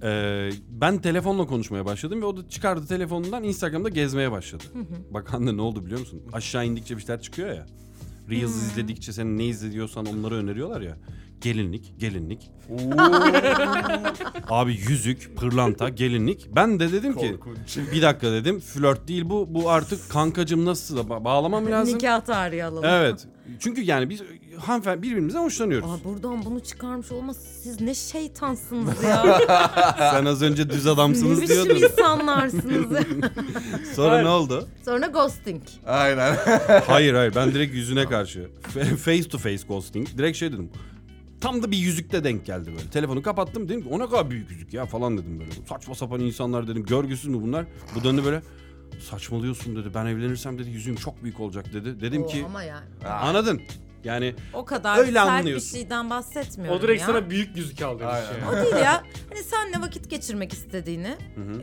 Speaker 2: Ee, ben telefonla konuşmaya başladım ve o da çıkardı telefonundan Instagram'da gezmeye başladı. Bak anne ne oldu biliyor musun? Aşağı indikçe bir şeyler çıkıyor ya. Reels izledikçe senin ne izliyorsan onları öneriyorlar ya. Gelinlik, gelinlik. Abi yüzük, pırlanta, gelinlik. Ben de dedim ki
Speaker 4: Korkunç.
Speaker 2: bir dakika dedim flört değil bu. Bu artık kankacım nasıl da ba- bağlamam lazım.
Speaker 1: nikah tarihi alalım.
Speaker 2: Evet. Çünkü yani biz hanımefendi birbirimizden hoşlanıyoruz.
Speaker 1: Aa, buradan bunu çıkarmış olması siz ne şeytansınız ya.
Speaker 2: Sen az önce düz
Speaker 1: ne
Speaker 2: adamsınız
Speaker 1: biçim
Speaker 2: diyordun.
Speaker 1: insanlarsınız.
Speaker 2: Sonra ne oldu?
Speaker 1: Sonra ghosting.
Speaker 4: Aynen.
Speaker 2: Hayır hayır ben direkt yüzüne karşı. F- Face to face ghosting. Direkt şey dedim. Tam da bir yüzükte denk geldi böyle. Telefonu kapattım dedim ki o ne kadar büyük yüzük ya falan dedim böyle. Saçma sapan insanlar dedim. Görgüsüz mü bunlar? Bu döndü böyle. Saçmalıyorsun dedi. Ben evlenirsem dedi yüzüğüm çok büyük olacak dedi. Dedim
Speaker 1: Oo,
Speaker 2: ki
Speaker 1: ama yani
Speaker 2: anladın. Yani
Speaker 1: o kadar
Speaker 2: Öyle
Speaker 1: sert
Speaker 2: anlıyorsun.
Speaker 1: bir şeyden bahsetmiyorum
Speaker 3: O direkt
Speaker 1: ya.
Speaker 3: sana büyük yüzük al demiş
Speaker 4: Aynen.
Speaker 3: yani.
Speaker 1: O değil ya. Hani senle vakit geçirmek istediğini.
Speaker 2: hı.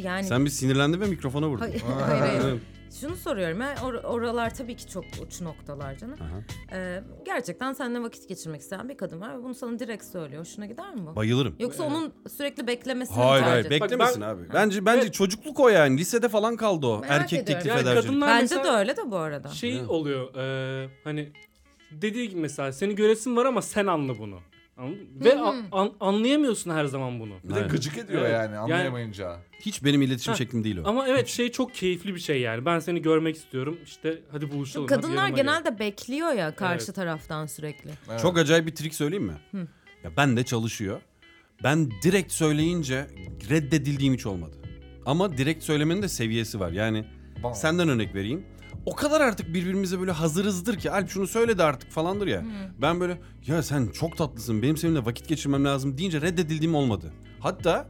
Speaker 1: e, Yani
Speaker 2: sen bir sinirlendin ve mikrofona vurdun.
Speaker 1: hayır, hayır, hayır. Şunu soruyorum ya or- oralar tabii ki çok uç noktalar canım.
Speaker 2: Aha.
Speaker 1: Ee, gerçekten seninle vakit geçirmek isteyen bir kadın var ve bunu sana direkt söylüyor. Hoşuna gider mi bu?
Speaker 2: Bayılırım.
Speaker 1: Yoksa onun sürekli beklemesini mi
Speaker 2: Ee. Hayır
Speaker 1: tercih
Speaker 2: hayır
Speaker 1: ediyorsun?
Speaker 2: beklemesin
Speaker 3: Bak
Speaker 2: abi. Bence bence
Speaker 3: Evet.
Speaker 2: çocukluk o yani. Lisede falan kaldı o.
Speaker 1: Merak
Speaker 2: Erkek
Speaker 1: ediyorum.
Speaker 2: teklif
Speaker 3: Yani
Speaker 2: edercilik.
Speaker 3: kadınlar
Speaker 1: Bence de
Speaker 3: mesela
Speaker 1: öyle de bu arada.
Speaker 3: şey
Speaker 2: Değil mi?
Speaker 3: oluyor eee, hani dediği gibi mesela seni göresin var ama sen anla bunu. Anladın mı? Ve a- an- anlayamıyorsun her zaman bunu.
Speaker 4: Bir de
Speaker 2: Evet.
Speaker 4: gıcık ediyor
Speaker 3: Evet.
Speaker 4: yani anlayamayınca.
Speaker 2: Hiç benim iletişim
Speaker 3: Ha,
Speaker 2: şeklim değil o.
Speaker 3: Ama evet şey çok keyifli bir şey yani. Ben seni görmek istiyorum. İşte hadi buluşalım.
Speaker 1: Çünkü
Speaker 3: hadi
Speaker 1: kadınlar
Speaker 3: yanıma gel.
Speaker 1: genelde bekliyor ya karşı
Speaker 3: Evet.
Speaker 1: taraftan sürekli.
Speaker 4: Evet.
Speaker 2: Çok acayip bir trik söyleyeyim mi? Ya ben de çalışıyor. Ben direkt söyleyince reddedildiğim hiç olmadı. Ama direkt söylemenin de seviyesi var. Yani
Speaker 4: Bam.
Speaker 2: senden örnek vereyim. O kadar artık birbirimize böyle hazırızdır ki Alp şunu söyle de artık falandır ya. Ben böyle ya sen çok tatlısın benim seninle vakit geçirmem lazım deyince reddedildiğim olmadı. Hatta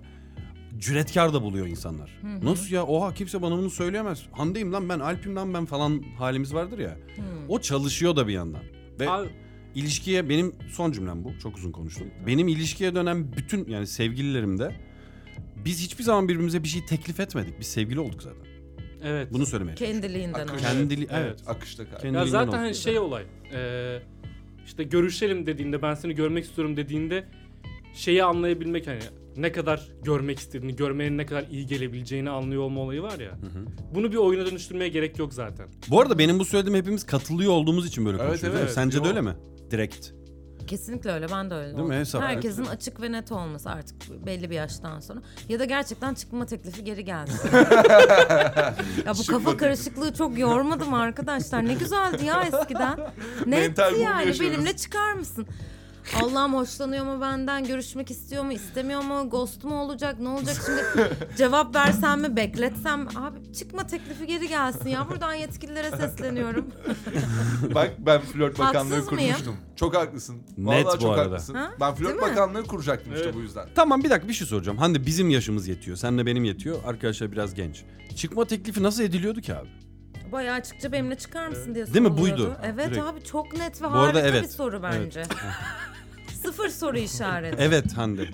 Speaker 2: cüretkar da buluyor insanlar. Nasıl ya oha kimse bana bunu söyleyemez. Hande'yim lan ben Alp'im lan ben falan halimiz vardır ya.
Speaker 1: Hmm,
Speaker 2: O çalışıyor da bir yandan. Ve
Speaker 3: Abi,
Speaker 2: ilişkiye benim son cümlem bu. Çok uzun konuştum. Benim ilişkiye dönen bütün yani sevgililerimde biz hiçbir zaman birbirimize bir şey teklif etmedik. Biz sevgili olduk zaten.
Speaker 3: evet.
Speaker 2: Bunu söylemeye çalışıyorum.
Speaker 1: Kendiliğinden
Speaker 4: Akış.
Speaker 1: oldu.
Speaker 2: Kendili evet.
Speaker 4: Akışta kay.
Speaker 2: Kendiliğinden
Speaker 3: Ya zaten
Speaker 2: oldu.
Speaker 3: hani şey olay. eee, işte görüşelim dediğinde ben seni görmek istiyorum dediğinde şeyi anlayabilmek hani ne kadar görmek istediğini, görmenin ne kadar iyi gelebileceğini anlıyor olma olayı var ya. Bunu bir oyuna dönüştürmeye gerek yok zaten.
Speaker 2: Bu arada benim bu söylediğim hepimiz katılıyor olduğumuz için böyle
Speaker 4: Evet,
Speaker 2: konuşuyoruz. değil mi?
Speaker 4: evet,
Speaker 2: Sence de
Speaker 4: yo.
Speaker 2: öyle mi? Direkt.
Speaker 1: Kesinlikle öyle ben de öyle
Speaker 2: mi?
Speaker 1: oldum.
Speaker 2: Hesap-
Speaker 1: Herkesin açık ve net olması artık belli bir yaştan sonra. Ya da gerçekten çıkma teklifi geri gelsin. ya bu kafa karışıklığı çok yormadım arkadaşlar. Ne güzeldi ya eskiden. Netti
Speaker 4: Mental bomba
Speaker 1: yani
Speaker 4: yaşıyoruz.
Speaker 1: benimle çıkar mısın? Allah'ım hoşlanıyor mu benden? Görüşmek istiyor mu? istemiyor mu? Ghost mu olacak? Ne olacak şimdi? Cevap versem mi? Bekletsem mi? Abi çıkma teklifi geri gelsin ya. Buradan yetkililere sesleniyorum.
Speaker 4: Bak ben flört bakanlığı
Speaker 1: Haksız mıyım?
Speaker 4: kurmuştum. Çok haklısın.
Speaker 2: Net
Speaker 4: Vallahi
Speaker 2: bu
Speaker 4: çok
Speaker 2: arada.
Speaker 4: haklısın.
Speaker 1: Ha?
Speaker 4: Ben flört bakanlığı kuracaktım işte
Speaker 3: Evet.
Speaker 4: bu yüzden.
Speaker 2: Tamam bir dakika bir şey soracağım. Hande bizim yaşımız yetiyor. Senle benim yetiyor. Arkadaşlar biraz genç. Çıkma teklifi nasıl ediliyordu ki abi?
Speaker 1: Bayağı açıkça benimle çıkar mısın diye
Speaker 2: Değil mi?
Speaker 1: soruluyordu.
Speaker 2: Buydu.
Speaker 1: Evet
Speaker 2: Direkt.
Speaker 1: abi çok net ve
Speaker 2: Bu arada
Speaker 1: harika bir
Speaker 2: evet.
Speaker 1: soru bence. Sıfır soru işareti.
Speaker 2: Evet Hande.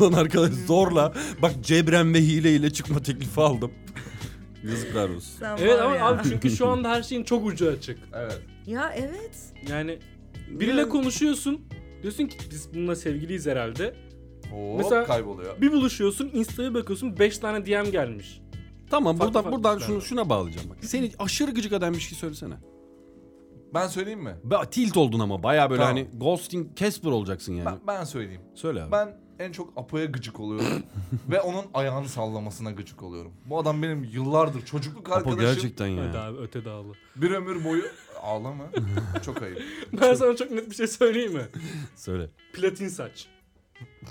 Speaker 2: Ulan arkadaş zorla bak cebren ve hileyle çıkma teklifi aldım. Yazıklar olsun.
Speaker 1: Sen
Speaker 3: Evet
Speaker 1: var
Speaker 3: ama
Speaker 1: ya.
Speaker 3: abi çünkü şu anda her şeyin çok ucu açık.
Speaker 4: Evet.
Speaker 1: Ya evet.
Speaker 3: Yani biriyle konuşuyorsun. Diyorsun ki biz bununla sevgiliyiz herhalde.
Speaker 4: Oo,
Speaker 3: Mesela-
Speaker 4: kayboluyor.
Speaker 3: Bir buluşuyorsun, Insta'ya bakıyorsun 5 tane DM gelmiş.
Speaker 2: Tamam
Speaker 3: Farklı
Speaker 2: buradan
Speaker 3: farklı
Speaker 2: buradan
Speaker 3: işler
Speaker 2: şunu
Speaker 3: var.
Speaker 2: şuna bağlayacağım bak. Seni aşırı gıcık eden bir şey söylesene.
Speaker 4: Ben söyleyeyim mi?
Speaker 2: Be, tilt oldun ama baya böyle
Speaker 4: Tamam.
Speaker 2: hani ghosting Casper olacaksın yani.
Speaker 4: Ben, ben söyleyeyim.
Speaker 2: Söyle abi.
Speaker 4: Ben en çok Apo'ya gıcık oluyorum ve onun ayağını sallamasına gıcık oluyorum. Bu adam benim yıllardır çocukluk
Speaker 2: Apo
Speaker 4: arkadaşım.
Speaker 2: gerçekten
Speaker 3: Hadi
Speaker 2: ya.
Speaker 3: abi öte dağlı.
Speaker 4: Bir ömür boyu ağlama. çok ayıp.
Speaker 3: Ben sana çok net bir şey söyleyeyim mi?
Speaker 2: Söyle.
Speaker 3: Platin saç.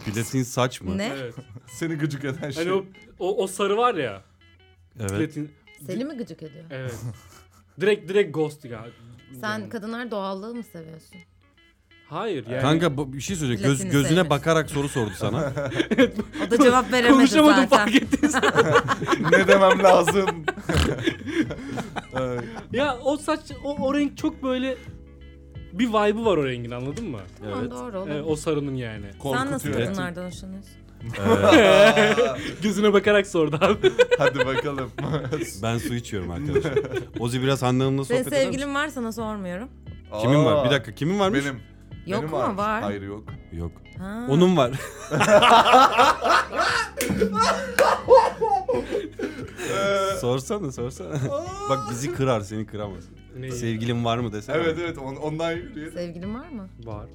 Speaker 2: Platin saç mı?
Speaker 1: Ne?
Speaker 3: Evet.
Speaker 4: Seni gıcık eden şey.
Speaker 3: Hani o, o, o sarı var ya.
Speaker 2: Evet.
Speaker 3: Platin.
Speaker 1: Seni mi gıcık ediyor?
Speaker 3: Evet. direkt direkt ghost ya.
Speaker 1: Sen kadınlar doğallığı mı seviyorsun?
Speaker 3: Hayır yani.
Speaker 2: Kanka bu- bir şey söyleyecek. Göz,
Speaker 1: Platini
Speaker 2: gözüne
Speaker 1: sevmez.
Speaker 2: bakarak soru sordu sana.
Speaker 1: O da cevap veremedi
Speaker 3: Konuşamadım
Speaker 1: zaten.
Speaker 3: fark ettiniz. mi?
Speaker 4: ne demem lazım? Ay,
Speaker 3: ya o saç o, o renk çok böyle bir vibe'ı var o rengin anladın mı?
Speaker 1: Tamam doğru olur.
Speaker 3: Evet, o sarının yani.
Speaker 1: Sen nasıl
Speaker 4: korkutuyor.
Speaker 1: kadınlardan hoşlanıyorsun?
Speaker 3: Gözüne bakarak sordu abi.
Speaker 4: Hadi bakalım.
Speaker 2: Ben su içiyorum arkadaşlar. Ozi biraz Hande Hanım'la
Speaker 1: Senin
Speaker 2: sohbet eder misin?
Speaker 1: sevgilin var sana sormuyorum.
Speaker 2: Kimin
Speaker 4: Aa,
Speaker 2: var? Bir dakika kimin varmış?
Speaker 4: Benim.
Speaker 1: Yok
Speaker 4: Benim
Speaker 1: mu?
Speaker 4: varmış.
Speaker 1: Var.
Speaker 4: Hayır yok.
Speaker 2: Yok.
Speaker 1: Ha.
Speaker 2: Onun var.
Speaker 4: Ee,
Speaker 2: sorsana sorsana. Bak bizi kırar seni kıramaz.
Speaker 3: Neyi?
Speaker 2: Sevgilin var mı desene.
Speaker 4: Evet evet on- ondan yürüyor.
Speaker 1: Sevgilin var mı?
Speaker 3: Var.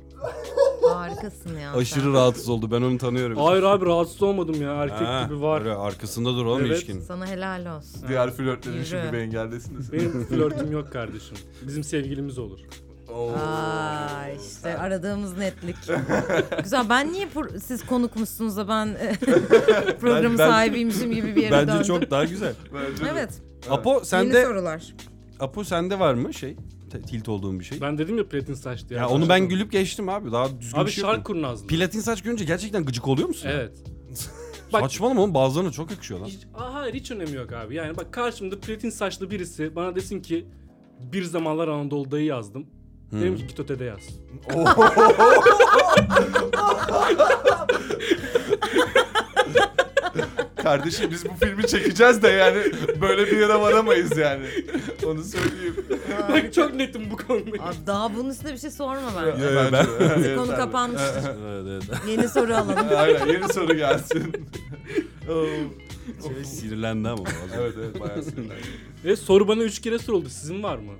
Speaker 1: Harikasın ya.
Speaker 2: Aşırı
Speaker 1: sen.
Speaker 2: rahatsız oldu ben onu tanıyorum.
Speaker 3: Hayır abi rahatsız olmadım ya erkek
Speaker 2: Ha,
Speaker 3: gibi var.
Speaker 2: öyle arkasında dur oğlum
Speaker 3: Evet.
Speaker 2: ilişkin.
Speaker 1: Sana helal olsun.
Speaker 4: Diğer flörtlerin
Speaker 1: Yürü.
Speaker 4: şimdi bir engeldesiniz.
Speaker 3: Benim flörtüm yok kardeşim. Bizim sevgilimiz olur.
Speaker 4: Oo.
Speaker 1: Aa işte aradığımız netlik. Güzel ben niye pro- siz konukmuşsunuz da ben e, programın
Speaker 2: Ben- ben-
Speaker 1: sahibiymişim gibi bir yere
Speaker 2: Bence
Speaker 1: döndüm.
Speaker 2: çok daha güzel.
Speaker 4: Bence de.
Speaker 1: Evet.
Speaker 2: Apo
Speaker 1: Yeni
Speaker 2: sende
Speaker 1: sorular.
Speaker 2: Apo sende var mı şey? Te- tilt olduğun bir şey.
Speaker 3: Ben dedim ya platin saç diye.
Speaker 2: ya onu ben gülüp geçtim abi. Daha düzgün
Speaker 3: Abi
Speaker 2: bir şey
Speaker 3: şark
Speaker 2: yok. mu?
Speaker 3: kurnazlı.
Speaker 2: Platin saç görünce gerçekten gıcık oluyor musun?
Speaker 3: Evet. Bak-
Speaker 2: Saçmalama oğlum bazılarına çok yakışıyor lan.
Speaker 3: Hiç, aa, hayır hiç önemi yok abi. Yani bak karşımda platin saçlı birisi bana desin ki bir zamanlar Anadolu'dayı yazdım. Derim ki git ötede yaz.
Speaker 4: Kardeşim biz bu filmi çekeceğiz de yani böyle bir yere varamayız yani. Onu söyleyeyim.
Speaker 3: Bak çok netim bu konuda.
Speaker 1: Abi daha bunun üstüne bir şey sorma ben.
Speaker 2: yo, ben-
Speaker 4: Bence-
Speaker 1: Konu kapanmıştır.
Speaker 2: Evet evet.
Speaker 1: Yeni soru alalım.
Speaker 4: Aynen yeni soru gelsin. Oo.
Speaker 2: Şey sinirlendi ama bazen.
Speaker 4: evet evet bayağı sinirlendim.
Speaker 3: Ve soru bana üç kere soruldu. Sizin var mı?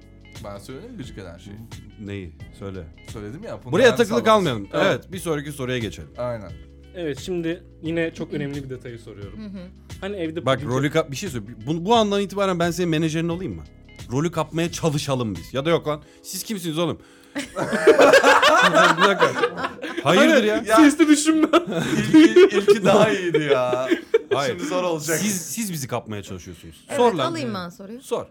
Speaker 4: Ben söyledim mi gıcık eden şeyi?
Speaker 2: Neyi? Söyle.
Speaker 4: Söyledim ya. bunu
Speaker 2: Buraya
Speaker 4: yani
Speaker 2: takılı
Speaker 4: sallamasın.
Speaker 2: kalmayalım. Evet. bir sonraki soruya geçelim.
Speaker 4: Aynen.
Speaker 3: Evet şimdi yine çok önemli bir detayı soruyorum. Hani evde
Speaker 2: Bak
Speaker 3: puding-
Speaker 2: rolü kap bir şey söyle. Bu, bu andan itibaren ben senin menajerin olayım mı? Rolü kapmaya çalışalım biz. Ya da yok lan. Siz kimsiniz oğlum? bir dakika. Hayırdır ya?
Speaker 4: Ya
Speaker 3: Sesli düşünme.
Speaker 4: ilki, ilki daha iyiydi ya.
Speaker 2: Hayır.
Speaker 4: Şimdi zor olacak.
Speaker 2: Siz siz bizi kapmaya çalışıyorsunuz.
Speaker 1: Evet
Speaker 2: Sor lan.
Speaker 1: alayım ben soruyu.
Speaker 2: Sor.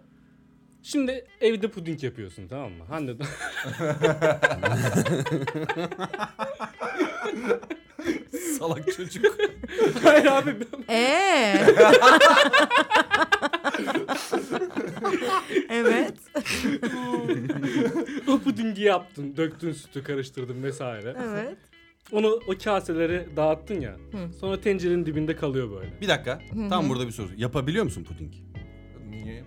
Speaker 3: Şimdi evde puding Hani yapıyorsun tamam mı? Hande
Speaker 2: Salak çocuk.
Speaker 3: Hayır abi ben-
Speaker 1: Ee. evet.
Speaker 3: pudingi yaptın, döktün sütü karıştırdın vesaire.
Speaker 1: Evet.
Speaker 3: Onu o kaselere dağıttın ya.
Speaker 1: Hı.
Speaker 3: Sonra tencerenin dibinde kalıyor böyle.
Speaker 2: Bir dakika. Tam burada bir soru. Yapabiliyor musun puding?
Speaker 4: Niye?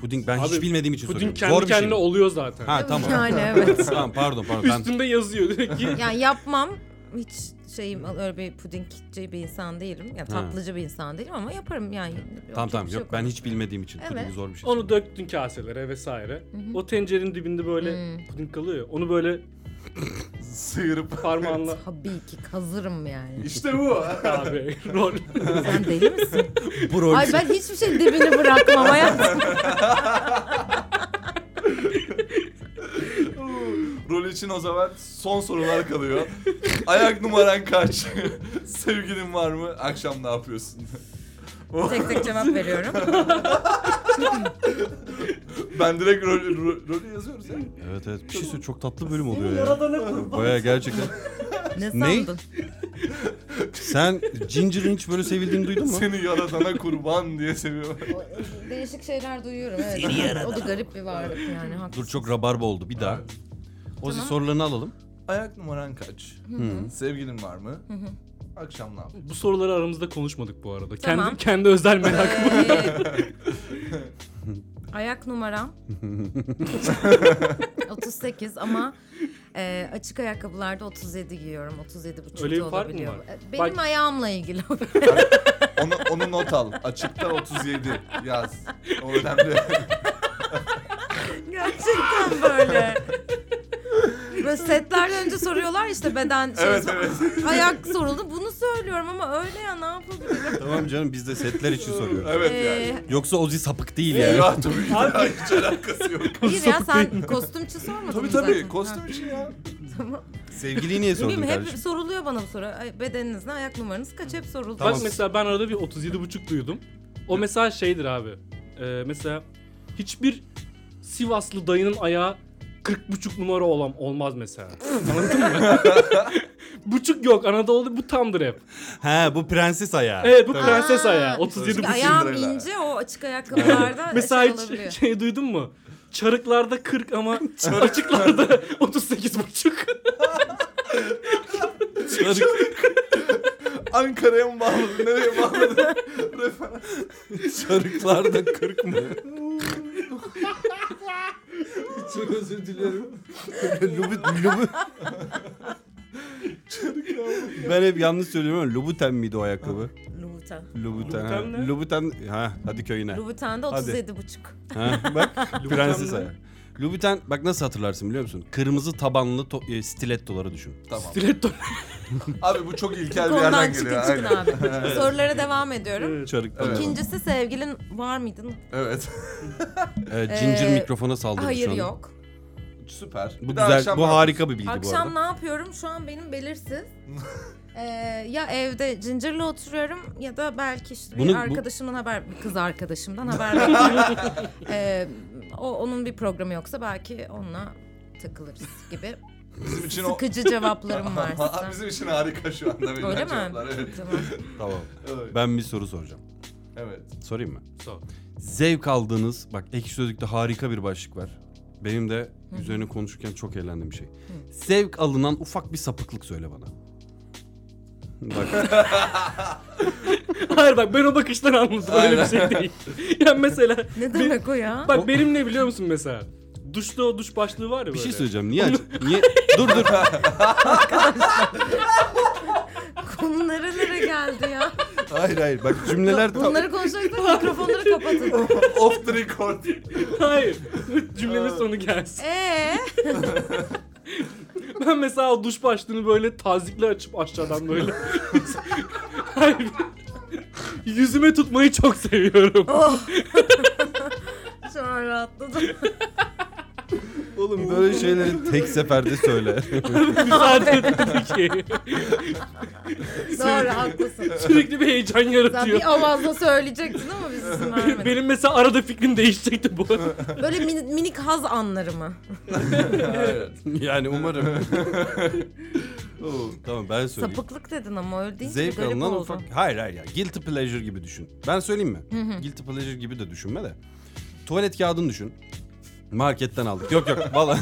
Speaker 2: Puding ben
Speaker 3: Abi,
Speaker 2: hiç bilmediğim için
Speaker 3: Puding
Speaker 2: soruyorum.
Speaker 3: kendi
Speaker 2: Zor bir şey
Speaker 3: kendine
Speaker 2: mi?
Speaker 3: oluyor zaten.
Speaker 2: Ha tamam.
Speaker 1: Yani evet.
Speaker 2: tamam pardon pardon. Ben
Speaker 3: Üstünde yazıyor direkt.
Speaker 1: Yani yapmam. Hiç şeyim öyle bir pudingci bir insan değilim. Ya tatlıcı bir insan değilim ama yaparım yani.
Speaker 2: Tamam
Speaker 1: Yapacak
Speaker 2: tamam
Speaker 1: bir şey
Speaker 2: yok ben hiç bilmediğim için
Speaker 1: Evet.
Speaker 2: puding zor bir şey.
Speaker 3: Onu döktün kaselere vesaire. O tencerenin dibinde böyle puding kalıyor ya. Onu böyle
Speaker 4: Sıyırıp.
Speaker 3: parmağınla
Speaker 1: Tabii ki kazırım yani.
Speaker 4: İşte bu.
Speaker 3: abi rol.
Speaker 1: Sen deli misin?
Speaker 2: Bu rol.
Speaker 1: Ay ben hiçbir şey dibini bırakmam hayatım.
Speaker 4: Rol için o zaman son sorular kalıyor. Ayak numaran kaç? Sevgilin var mı? Akşam ne yapıyorsun? Oh,
Speaker 1: Tek tek cevap veriyorum.
Speaker 4: Ben direkt rol, rol- rolü yazıyoruz ya.
Speaker 2: Evet evet bir şey söyle çok tatlı bir bölüm oluyor ya. Baya gerçekten.
Speaker 1: Ne
Speaker 2: Ne?
Speaker 1: sandın?
Speaker 2: Sen Ginger'ın hiç böyle sevildiğini duydun mu?
Speaker 4: Seni yaratana kurban diye seviyorum.
Speaker 1: Değişik şeyler duyuyorum evet. O da garip bir varlık yani. haklısın.
Speaker 2: Dur çok rabarba oldu bir daha. Ozi sorularını alalım.
Speaker 4: Ayak numaran kaç? Sevgilin var mı? Akşam ne yapıyorsun?
Speaker 3: Bu soruları aramızda konuşmadık bu arada.
Speaker 1: Tamam.
Speaker 3: Kendi kendi özel merakım.
Speaker 1: Ee, ayak numaram 38 ama e, açık ayakkabılarda 37 giyiyorum. 37 buçuk
Speaker 3: Öyle bir fark mı
Speaker 1: olabiliyor.
Speaker 3: var?
Speaker 1: E, Benim
Speaker 3: Bak-
Speaker 1: ayağımla ilgili.
Speaker 4: Onu, onu not al. Açıkta 37 yaz. O önemli.
Speaker 1: Gerçekten böyle. Böyle setlerden önce soruyorlar işte beden şey,
Speaker 4: evet evet.
Speaker 1: ayak soruldu. Bunu söylüyorum ama öyle ya ne yapabilirim?
Speaker 2: Tamam canım biz de setler için soruyoruz.
Speaker 4: Evet yani.
Speaker 1: Ee,
Speaker 2: Yoksa Ozi sapık değil yani.
Speaker 4: Ya tabii ki ya, hiç alakası yok.
Speaker 1: hayır ya sen kostümçü sormadın
Speaker 4: tabii
Speaker 1: mı
Speaker 4: tabii
Speaker 1: zaten?
Speaker 4: kostüm için ya.
Speaker 1: Ha, tamam.
Speaker 2: Sevgiliyi niye sordun
Speaker 1: Bilmiyorum, hep
Speaker 2: kardeşim?
Speaker 1: soruluyor bana bu soru. Ay, Bedeninizle ayak numaranız kaç hep soruldu.
Speaker 3: Bak mesela ben arada bir 37 buçuk duydum. O mesela şeydir abi. Ee, mesela hiçbir Sivaslı dayının ayağı 40 buçuk numara olam olmaz mesela. Anladın mı? buçuk yok Anadolu'da bu tamdır hep.
Speaker 2: He bu prenses ayağı.
Speaker 3: Evet bu
Speaker 1: Aa,
Speaker 3: prenses ayağı 37
Speaker 1: çünkü
Speaker 3: buçuk.
Speaker 1: ayağım
Speaker 4: lirayla.
Speaker 1: ince o açık ayakkabılarda
Speaker 3: Mesela
Speaker 1: şey
Speaker 3: hiç
Speaker 1: olabiliyor.
Speaker 3: şey duydun mu? Çarıklarda 40 ama açıklarda 38 buçuk.
Speaker 2: Çarık,
Speaker 4: Ankara'ya mı bağladın? Nereye bağladın?
Speaker 2: çarıklarda kırk mı?
Speaker 5: Çok özür dilerim.
Speaker 2: Lubut, lubu... ben hep yanlış söylüyorum ama Lubuten miydi o ayakkabı?
Speaker 1: Louboutin.
Speaker 2: Lubuten. ha.
Speaker 3: Lubuten ne?
Speaker 2: Lubuten. Ha hadi köyüne.
Speaker 1: Louboutin'de
Speaker 2: Hadi.
Speaker 1: 37 buçuk.
Speaker 2: Ha, bak prenses
Speaker 3: ne?
Speaker 2: ayağı. Lubuten bak nasıl hatırlarsın biliyor musun? Kırmızı tabanlı to- e, stilettoları düşün.
Speaker 4: tamam.
Speaker 3: Stiletto.
Speaker 4: Abi bu çok ilkel bir
Speaker 1: Konudan
Speaker 4: yerden
Speaker 1: çıkın
Speaker 4: geliyor.
Speaker 1: çıkın
Speaker 4: Aynen.
Speaker 1: abi. Sorulara devam ediyorum.
Speaker 2: Çarıkları.
Speaker 4: Evet.
Speaker 1: İkincisi sevgilin var mıydın?
Speaker 4: Evet.
Speaker 2: Ee, Ginger
Speaker 1: Ee,
Speaker 2: mikrofona saldırdı
Speaker 1: Hayır
Speaker 2: şu an.
Speaker 1: yok.
Speaker 4: Süper.
Speaker 2: Bu
Speaker 4: Bir de akşam
Speaker 2: güzel, bu
Speaker 4: ne
Speaker 2: harika bir bilgi bu arada.
Speaker 1: Akşam ne yapıyorum? Şu an benim belirsiz. Ee, ya evde cincirle oturuyorum ya da belki işte bir
Speaker 2: Bunu- bu-
Speaker 1: arkadaşımdan haber, bir kız arkadaşımdan haber bekliyorum. Ee, o onun bir programı yoksa belki onunla takılırız gibi.
Speaker 4: Bizim için o...
Speaker 1: Sıkıcı cevaplarım var
Speaker 4: Aha,
Speaker 1: size.
Speaker 4: Bizim için harika şu anda. verilen
Speaker 1: Öyle mi?
Speaker 4: cevaplar, Evet.
Speaker 1: Tamam.
Speaker 2: Tamam.
Speaker 4: Evet.
Speaker 2: Ben bir soru soracağım.
Speaker 4: evet.
Speaker 2: Sorayım mı?
Speaker 3: Sor.
Speaker 2: Zevk aldığınız, bak ekşi sözlükte harika bir başlık var. Benim de üzerine konuşurken çok eğlendiğim bir şey. Zevk alınan ufak bir sapıklık söyle bana. Bak
Speaker 3: Hayır bak ben o bakıştan anladım öyle bir şey değil. Yani mesela
Speaker 1: Ne demek o ya?
Speaker 3: Bak benim ne biliyor musun mesela? Duşta o duş başlığı var ya
Speaker 2: bir
Speaker 3: böyle.
Speaker 2: şey söyleyeceğim. Niye? aç- niye? Dur dur.
Speaker 1: Konu nerelere geldi ya?
Speaker 2: Hayır hayır. Bak cümleler
Speaker 1: Bunları konuşacaksak mikrofonları kapatın.
Speaker 4: Off the record.
Speaker 3: Hayır. Cümlemin sonu gelsin.
Speaker 1: Ee,
Speaker 3: Ben mesela o duş başlığını böyle tazikle açıp aşağıdan böyle. Hayır. Yüzüme tutmayı çok seviyorum.
Speaker 1: Oh. şu an rahatladım.
Speaker 2: Oğlum böyle şey- şeyleri tek seferde söyle.
Speaker 3: Müsaade etmedi ki.
Speaker 1: Doğru haklısın.
Speaker 3: Sürekli bir heyecan
Speaker 1: Sen
Speaker 3: yaratıyor.
Speaker 1: bir avazla söyleyecektin ama biz izin vermedik.
Speaker 3: Benim mesela arada fikrim değişecekti bu.
Speaker 1: Böyle min- minik haz anları mı?
Speaker 4: Evet.
Speaker 2: yani umarım. tamam ben söyleyeyim.
Speaker 1: Sapıklık dedin ama öyle deyince
Speaker 2: Zevk
Speaker 1: bir garip
Speaker 2: alınan
Speaker 1: oldu.
Speaker 2: ufak... Hayır hayır ya. Guilty pleasure gibi düşün. Ben söyleyeyim mi? Guilty pleasure gibi de düşünme de. Tuvalet kağıdını düşün. Marketten aldık. Yok yok valla.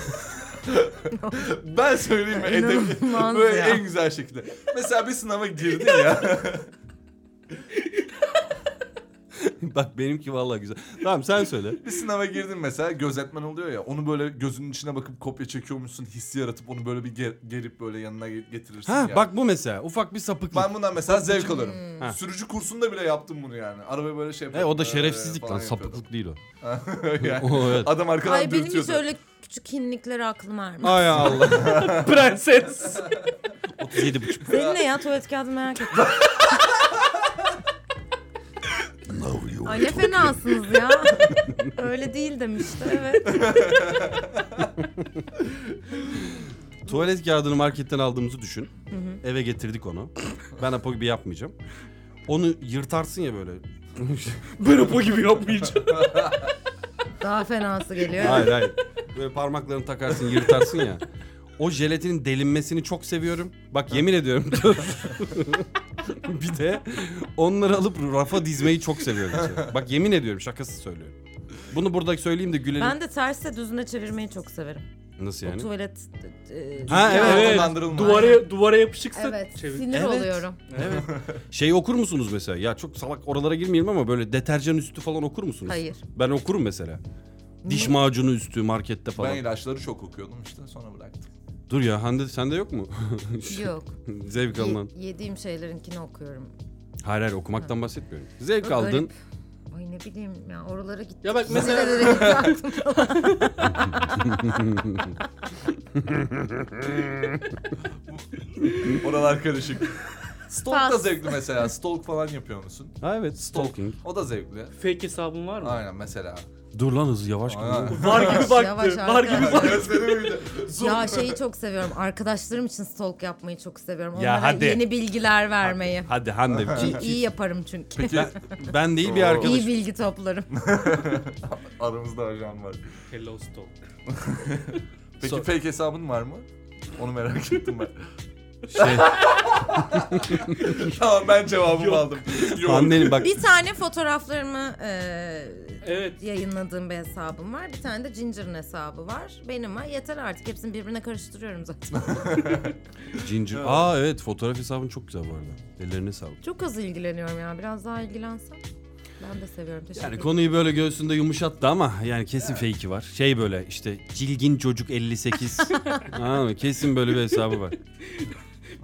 Speaker 4: Ben söyleyeyim mi? Edep,
Speaker 1: İnanılmaz
Speaker 4: böyle
Speaker 1: ya.
Speaker 4: en güzel şekilde. Mesela bir sınava girdin ya.
Speaker 2: Bak benimki valla güzel. Tamam sen söyle.
Speaker 4: bir sınava girdin mesela gözetmen oluyor ya. Onu böyle gözünün içine bakıp kopya çekiyormuşsun hissi yaratıp onu böyle bir ger- gerip böyle yanına ge- getirirsin
Speaker 2: Ha
Speaker 4: ya.
Speaker 2: bak bu mesela ufak bir sapıklık.
Speaker 4: Ben bundan mesela zevk alıyorum.
Speaker 2: Ha.
Speaker 4: Sürücü kursunda bile yaptım bunu yani. Arabayı böyle şey
Speaker 2: E, o da
Speaker 4: yapıyordum,
Speaker 2: şerefsizlik
Speaker 4: ee,
Speaker 2: lan
Speaker 4: falan yapıyordum.
Speaker 2: sapıklık değil o.
Speaker 4: Yani
Speaker 2: o evet.
Speaker 4: Adam arkadan
Speaker 1: Ay benim hiç
Speaker 4: dürtüyordu.
Speaker 1: öyle küçük hinlikler aklım ermez.
Speaker 2: Ay Allah.
Speaker 3: Prenses.
Speaker 2: 37,5.
Speaker 1: Senin ne ya tuvalet kağıdı merak ettim. Ay ne fenasınız ya. öyle değil demişti evet.
Speaker 2: Tuvalet kağıdını marketten aldığımızı düşün. Eve getirdik onu. Ben apo gibi yapmayacağım. Onu yırtarsın ya böyle.
Speaker 3: Böyle bu gibi yapmayacağım.
Speaker 1: Daha fenası geliyor.
Speaker 2: hayır hayır. Böyle parmaklarını takarsın yırtarsın ya. O jelatinin delinmesini çok seviyorum. Bak yemin ediyorum. bir de onları alıp rafa dizmeyi çok seviyorum. Bak yemin ediyorum şakasız söylüyorum. Bunu burada söyleyeyim de gülelim.
Speaker 1: Ben de terse düzüne çevirmeyi çok severim.
Speaker 2: Nasıl
Speaker 1: O
Speaker 2: yani?
Speaker 1: tuvalet... e,
Speaker 2: Ha,
Speaker 1: ya-
Speaker 2: evet.
Speaker 4: Sonlandırılma.
Speaker 3: Duvara, duvara yapışıksa
Speaker 1: Evet,
Speaker 3: çevir.
Speaker 1: sinir
Speaker 2: Evet.
Speaker 1: oluyorum.
Speaker 2: Evet. Şey okur musunuz mesela? Ya çok salak oralara girmeyeyim ama böyle deterjan üstü falan okur musunuz?
Speaker 1: Hayır.
Speaker 2: Ben okurum mesela. Diş macunu üstü markette falan.
Speaker 4: Ben ilaçları çok okuyordum işte sonra bıraktım.
Speaker 2: Dur ya Hande sende yok mu? şey
Speaker 1: Yok.
Speaker 2: Zevk alınan.
Speaker 1: Ye- yediğim şeylerinkini okuyorum.
Speaker 2: Hayır hayır okumaktan bahsetmiyorum. Zevk
Speaker 1: Böyle
Speaker 2: aldın.
Speaker 1: garip. Ay ne bileyim ya oralara gittim.
Speaker 3: Ya bak mesela
Speaker 1: Nerelere gitti aklım.
Speaker 4: Oralar karışık. Stalk da
Speaker 1: Pas.
Speaker 4: zevkli mesela. Stalk falan yapıyor musun?
Speaker 2: Ha evet stalking.
Speaker 4: O da zevkli.
Speaker 3: fake hesabın var mı?
Speaker 4: Aynen mesela.
Speaker 2: Dur lan hızlı yavaş
Speaker 4: Aynen.
Speaker 2: gel.
Speaker 3: Var gibi
Speaker 1: Yavaş
Speaker 3: baktı. Var
Speaker 1: arkadaş.
Speaker 3: gibi baktı.
Speaker 4: Gözlerimi bir de- Zoom.
Speaker 1: ya şeyi çok seviyorum. Arkadaşlarım için stalk yapmayı çok seviyorum.
Speaker 2: Ya
Speaker 1: Onlara
Speaker 2: hadi.
Speaker 1: yeni bilgiler vermeyi.
Speaker 2: Hadi Hande.
Speaker 1: İyi, iyi yaparım çünkü.
Speaker 4: Peki
Speaker 2: ben, ben değil bir arkadaş.
Speaker 1: iyi bilgi toplarım.
Speaker 4: aramızda ajan var.
Speaker 3: Hello stalk.
Speaker 4: Peki
Speaker 2: Sor.
Speaker 4: fake hesabın var mı? Onu merak ettim ben.
Speaker 2: Şey,
Speaker 4: tamam ben cevabımı aldım.
Speaker 2: Hande'nin bak
Speaker 1: Bir tane fotoğraflarımı e, eee
Speaker 3: Evet.
Speaker 1: yayınladığım bir hesabım var. Bir tane de Ginger'ın hesabı var. Benim var. Yeter artık. Hepsini birbirine karıştırıyorum zaten.
Speaker 2: Ginger. Aa evet fotoğraf hesabın çok güzel bu arada. Ellerine sağlık.
Speaker 1: Çok az ilgileniyorum ya. Biraz daha ilgilensem. Ben de seviyorum. Teşekkür
Speaker 2: Yani
Speaker 1: ederim.
Speaker 2: konuyu böyle göğsünde yumuşattı ama yani kesin fake'i var. Şey böyle işte cilgin çocuk 58. Anladın mı? Kesin böyle bir hesabı var.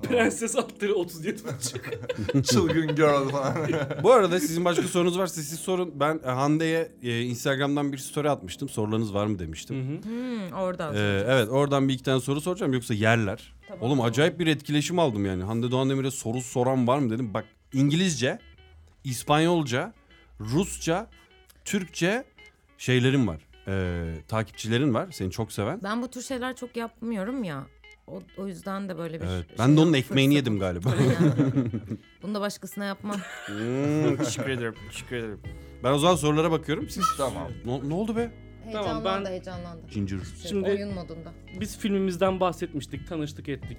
Speaker 3: Prenses altları 37 buçuk.
Speaker 4: Çılgın girl falan.
Speaker 2: Bu arada sizin başka sorunuz varsa siz sorun. Ben e, Hande'ye e, Instagram'dan bir story atmıştım. Sorularınız var mı demiştim.
Speaker 1: Hmm, oradan.
Speaker 2: Ee, evet oradan bir iki tane soru soracağım yoksa yerler.
Speaker 1: Tamam.
Speaker 2: Oğlum acayip bir etkileşim aldım yani. Hande Doğan Demir'e soru soran var mı dedim. Bak İngilizce, İspanyolca, Rusça, Türkçe şeylerim var. Ee, takipçilerin var seni çok seven.
Speaker 1: Ben bu tür şeyler çok yapmıyorum ya. O, o yüzden de böyle bir
Speaker 2: Evet.
Speaker 1: şey
Speaker 2: Ben de onun
Speaker 1: yapma
Speaker 2: ekmeğini
Speaker 1: fırsatı-
Speaker 2: yedim galiba.
Speaker 1: Aynen. Bunu da başkasına yapmam.
Speaker 2: Hmm, teşekkür ederim. Teşekkür ederim. Ben o zaman sorulara bakıyorum. Siz
Speaker 4: tamam.
Speaker 2: ne, ne oldu be?
Speaker 1: Heyecanlandı
Speaker 3: ben-
Speaker 1: heyecanlandı.
Speaker 2: Ginger.
Speaker 1: Şey,
Speaker 3: Şimdi-
Speaker 1: Oyun modunda.
Speaker 3: Biz filmimizden bahsetmiştik, tanıştık ettik.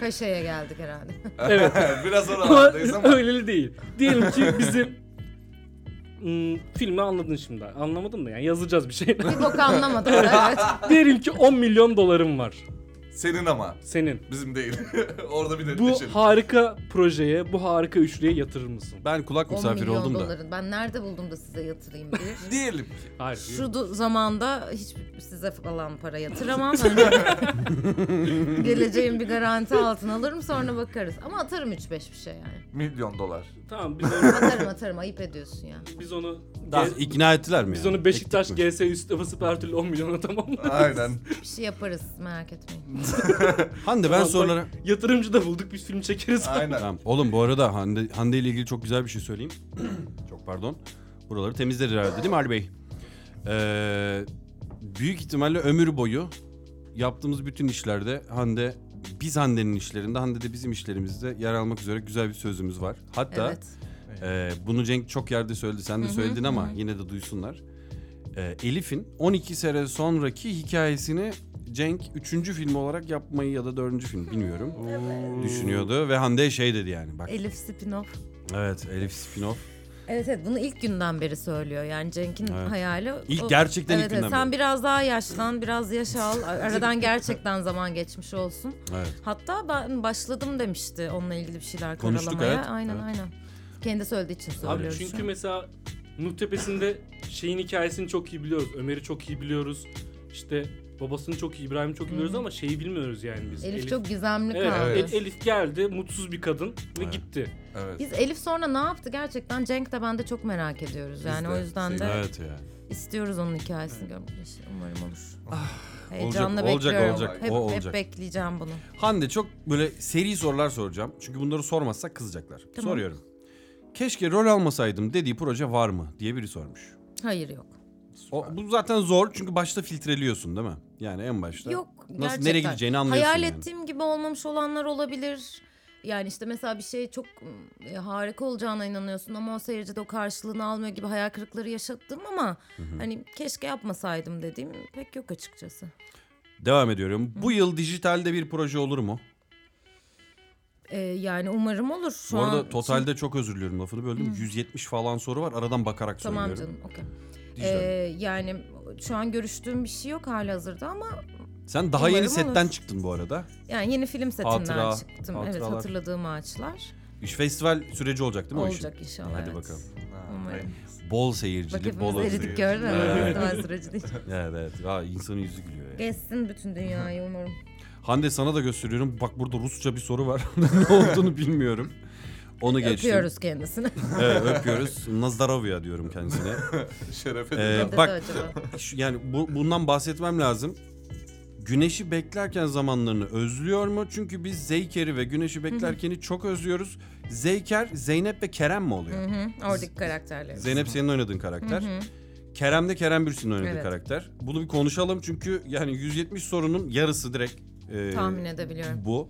Speaker 1: Kaşeye geldik herhalde.
Speaker 3: Evet.
Speaker 4: Biraz
Speaker 3: Ama
Speaker 4: oralardayız ama.
Speaker 3: öyleli değil. Diyelim ki bizim Hmm, filmi anladın şimdi. Anlamadın da yani yazacağız bir şey.
Speaker 1: bir bok anlamadım. Evet.
Speaker 3: Diyelim ki 10 milyon dolarım var
Speaker 4: Senin ama.
Speaker 3: senin.
Speaker 4: Bizim değil. Orada bir
Speaker 3: Bu
Speaker 4: netleşelim.
Speaker 3: harika projeye, bu harika üçlüye yatırır mısın?
Speaker 2: Ben kulak
Speaker 1: 10
Speaker 2: misafiri
Speaker 1: milyon
Speaker 2: oldum da.
Speaker 1: doların. Ben nerede buldum da size yatırayım diye.
Speaker 4: Diyelim ki.
Speaker 3: Hayır.
Speaker 1: Şu du- zamanda hiç size falan para yatıramam. Hani Geleceğim bir garanti altına alırım sonra bakarız. Ama atarım 3-5 bir şey yani.
Speaker 4: Milyon dolar.
Speaker 3: Tamam biz onu,
Speaker 1: Atarım atarım ayıp ediyorsun ya.
Speaker 3: biz onu
Speaker 2: Daha
Speaker 3: Ge-
Speaker 2: ikna ettiler mi?
Speaker 3: biz
Speaker 2: yani?
Speaker 3: onu Beşiktaş
Speaker 2: Ettik mi?
Speaker 3: GS üstüne basıp her türlü 10 milyona tamamlarız.
Speaker 4: Aynen.
Speaker 1: Bir şey yaparız merak etmeyin.
Speaker 2: Hande ben
Speaker 3: Tamam, bak,
Speaker 2: sorulara...
Speaker 3: Yatırımcı da bulduk biz film çekeriz.
Speaker 4: Aynen.
Speaker 2: Tamam. Oğlum bu arada Hande, Hande ile ilgili çok güzel bir şey söyleyeyim. çok pardon. Buraları temizler herhalde değil mi Ali Bey? Ee, büyük ihtimalle ömür boyu yaptığımız bütün işlerde Hande biz Hande'nin işlerinde, Hande de bizim işlerimizde yer almak üzere güzel bir sözümüz var. Hatta
Speaker 1: Evet.
Speaker 2: ee, bunu Cenk çok yerde söyledi. Sen de
Speaker 1: Hı hı,
Speaker 2: söyledin
Speaker 1: hı
Speaker 2: ama
Speaker 1: hı.
Speaker 2: yine de duysunlar. Ee, Elif'in 12 sene sonraki hikayesini Cenk üçüncü film olarak yapmayı ya da dördüncü film bilmiyorum. Düşünüyordu ve Hande şey dedi yani bak.
Speaker 1: Elif Spinoff.
Speaker 2: Evet Elif Spinoff.
Speaker 1: Evet evet bunu ilk günden beri söylüyor. Yani Cenk'in
Speaker 2: Evet.
Speaker 1: hayali.
Speaker 2: İlk gerçekten ilk
Speaker 1: evet, evet,
Speaker 2: günden
Speaker 1: Sen
Speaker 2: beri.
Speaker 1: biraz daha yaşlan, biraz yaş al. Aradan gerçekten zaman geçmiş olsun.
Speaker 2: Evet.
Speaker 1: Hatta ben başladım demişti onunla ilgili bir şeyler
Speaker 2: Konuştuk,
Speaker 1: karalamaya.
Speaker 2: evet,
Speaker 1: Aynen
Speaker 2: evet.
Speaker 1: aynen. Kendi söylediği için
Speaker 3: Abi
Speaker 1: söylüyoruz.
Speaker 3: çünkü mesela Nuh Tepesi'nde şeyin hikayesini çok iyi biliyoruz. Ömer'i çok iyi biliyoruz. İşte babasını çok iyi, İbrahim'i çok iyi biliyoruz ama şeyi bilmiyoruz yani biz.
Speaker 1: Elif, çok gizemli
Speaker 3: Evet,
Speaker 1: kaldı.
Speaker 3: El- Elif geldi, mutsuz bir kadın ve
Speaker 2: Evet.
Speaker 3: gitti.
Speaker 4: Evet.
Speaker 1: Biz Elif sonra ne yaptı gerçekten Cenk de ben de çok merak ediyoruz. Yani
Speaker 4: de,
Speaker 1: o yüzden de
Speaker 4: sevgili-
Speaker 2: Evet ya.
Speaker 1: istiyoruz onun hikayesini görmek. Umarım olur.
Speaker 2: Ah, Olacak,
Speaker 1: Heyecanla
Speaker 2: olacak,
Speaker 1: bekliyorum.
Speaker 2: olacak.
Speaker 1: Hep,
Speaker 2: O olacak.
Speaker 1: hep bekleyeceğim bunu.
Speaker 2: Hande çok böyle seri sorular soracağım. Çünkü bunları sormazsak kızacaklar.
Speaker 1: Tamam.
Speaker 2: Soruyorum. Keşke rol almasaydım dediği proje var mı diye biri sormuş.
Speaker 1: Hayır yok.
Speaker 2: O, bu zaten zor çünkü başta filtreliyorsun değil mi? Yani en başta.
Speaker 1: Yok
Speaker 2: Nasıl
Speaker 1: gerçekten.
Speaker 2: nereye gideceğini anlıyorsun
Speaker 1: Hayal
Speaker 2: yani.
Speaker 1: ettiğim gibi olmamış olanlar olabilir. Yani işte mesela bir şey çok mm, e, harika olacağına inanıyorsun ama o seyirci de o karşılığını almıyor gibi hayal kırıkları yaşattım ama hani keşke yapmasaydım dediğim pek yok açıkçası.
Speaker 2: Devam ediyorum. Bu yıl dijitalde bir proje olur mu?
Speaker 1: Ee, yani umarım olur. Şu
Speaker 2: Bu
Speaker 1: an
Speaker 2: arada totalde çok özür diliyorum lafını böldüm. 170 falan soru var. Aradan bakarak
Speaker 1: Tamam
Speaker 2: söylüyorum.
Speaker 1: canım okey.
Speaker 2: Dijital.
Speaker 1: Ee, yani şu an görüştüğüm bir şey yok halihazırda ama
Speaker 2: Sen daha yeni
Speaker 1: umarım
Speaker 2: setten
Speaker 1: olur.
Speaker 2: çıktın bu arada.
Speaker 1: yani yeni film setinden
Speaker 2: Hatıra,
Speaker 1: çıktım. Evet
Speaker 2: hatıralar.
Speaker 1: hatırladığım ağaçlar.
Speaker 2: İş festival süreci olacak değil mi o
Speaker 1: Olacak
Speaker 2: işin?
Speaker 1: inşallah.
Speaker 2: Hadi
Speaker 1: evet.
Speaker 2: bakalım.
Speaker 4: Ha,
Speaker 1: Umarım.
Speaker 2: Bol
Speaker 1: Bak
Speaker 2: seyircili,
Speaker 1: hepimiz
Speaker 2: bol
Speaker 1: eridik
Speaker 2: özgürlük.
Speaker 1: gördün mü?
Speaker 2: Evet.
Speaker 1: Festival süreci değil.
Speaker 2: Evet evet. Aa, insanın yüzü gülüyor ya.
Speaker 1: Gezsin bütün dünyayı umarım.
Speaker 2: Hande sana da gösteriyorum. Bak burada Rusça bir soru var. ne olduğunu bilmiyorum. Onu geçtim.
Speaker 1: Öpüyoruz kendisini.
Speaker 2: Evet, öpüyoruz. Nazdarovya diyorum kendisine.
Speaker 4: Şerefe
Speaker 2: Ee,
Speaker 4: de-
Speaker 1: Dedi
Speaker 2: bak
Speaker 1: acaba.
Speaker 2: Şu- yani bu, bundan bahsetmem lazım. Güneşi beklerken zamanlarını özlüyor mu? Çünkü biz Zeyker'i ve Güneşi beklerkeni çok özlüyoruz. Zeyker, Zeynep ve Kerem mi oluyor?
Speaker 1: Hı hı, Oradaki karakterler.
Speaker 2: Zeynep senin oynadığın karakter. Kerem de Kerem Bürsin'in oynadığı
Speaker 1: Evet.
Speaker 2: karakter. Bunu bir konuşalım çünkü yani 170 sorunun yarısı direkt e,
Speaker 1: Tahmin edebiliyorum.
Speaker 2: bu.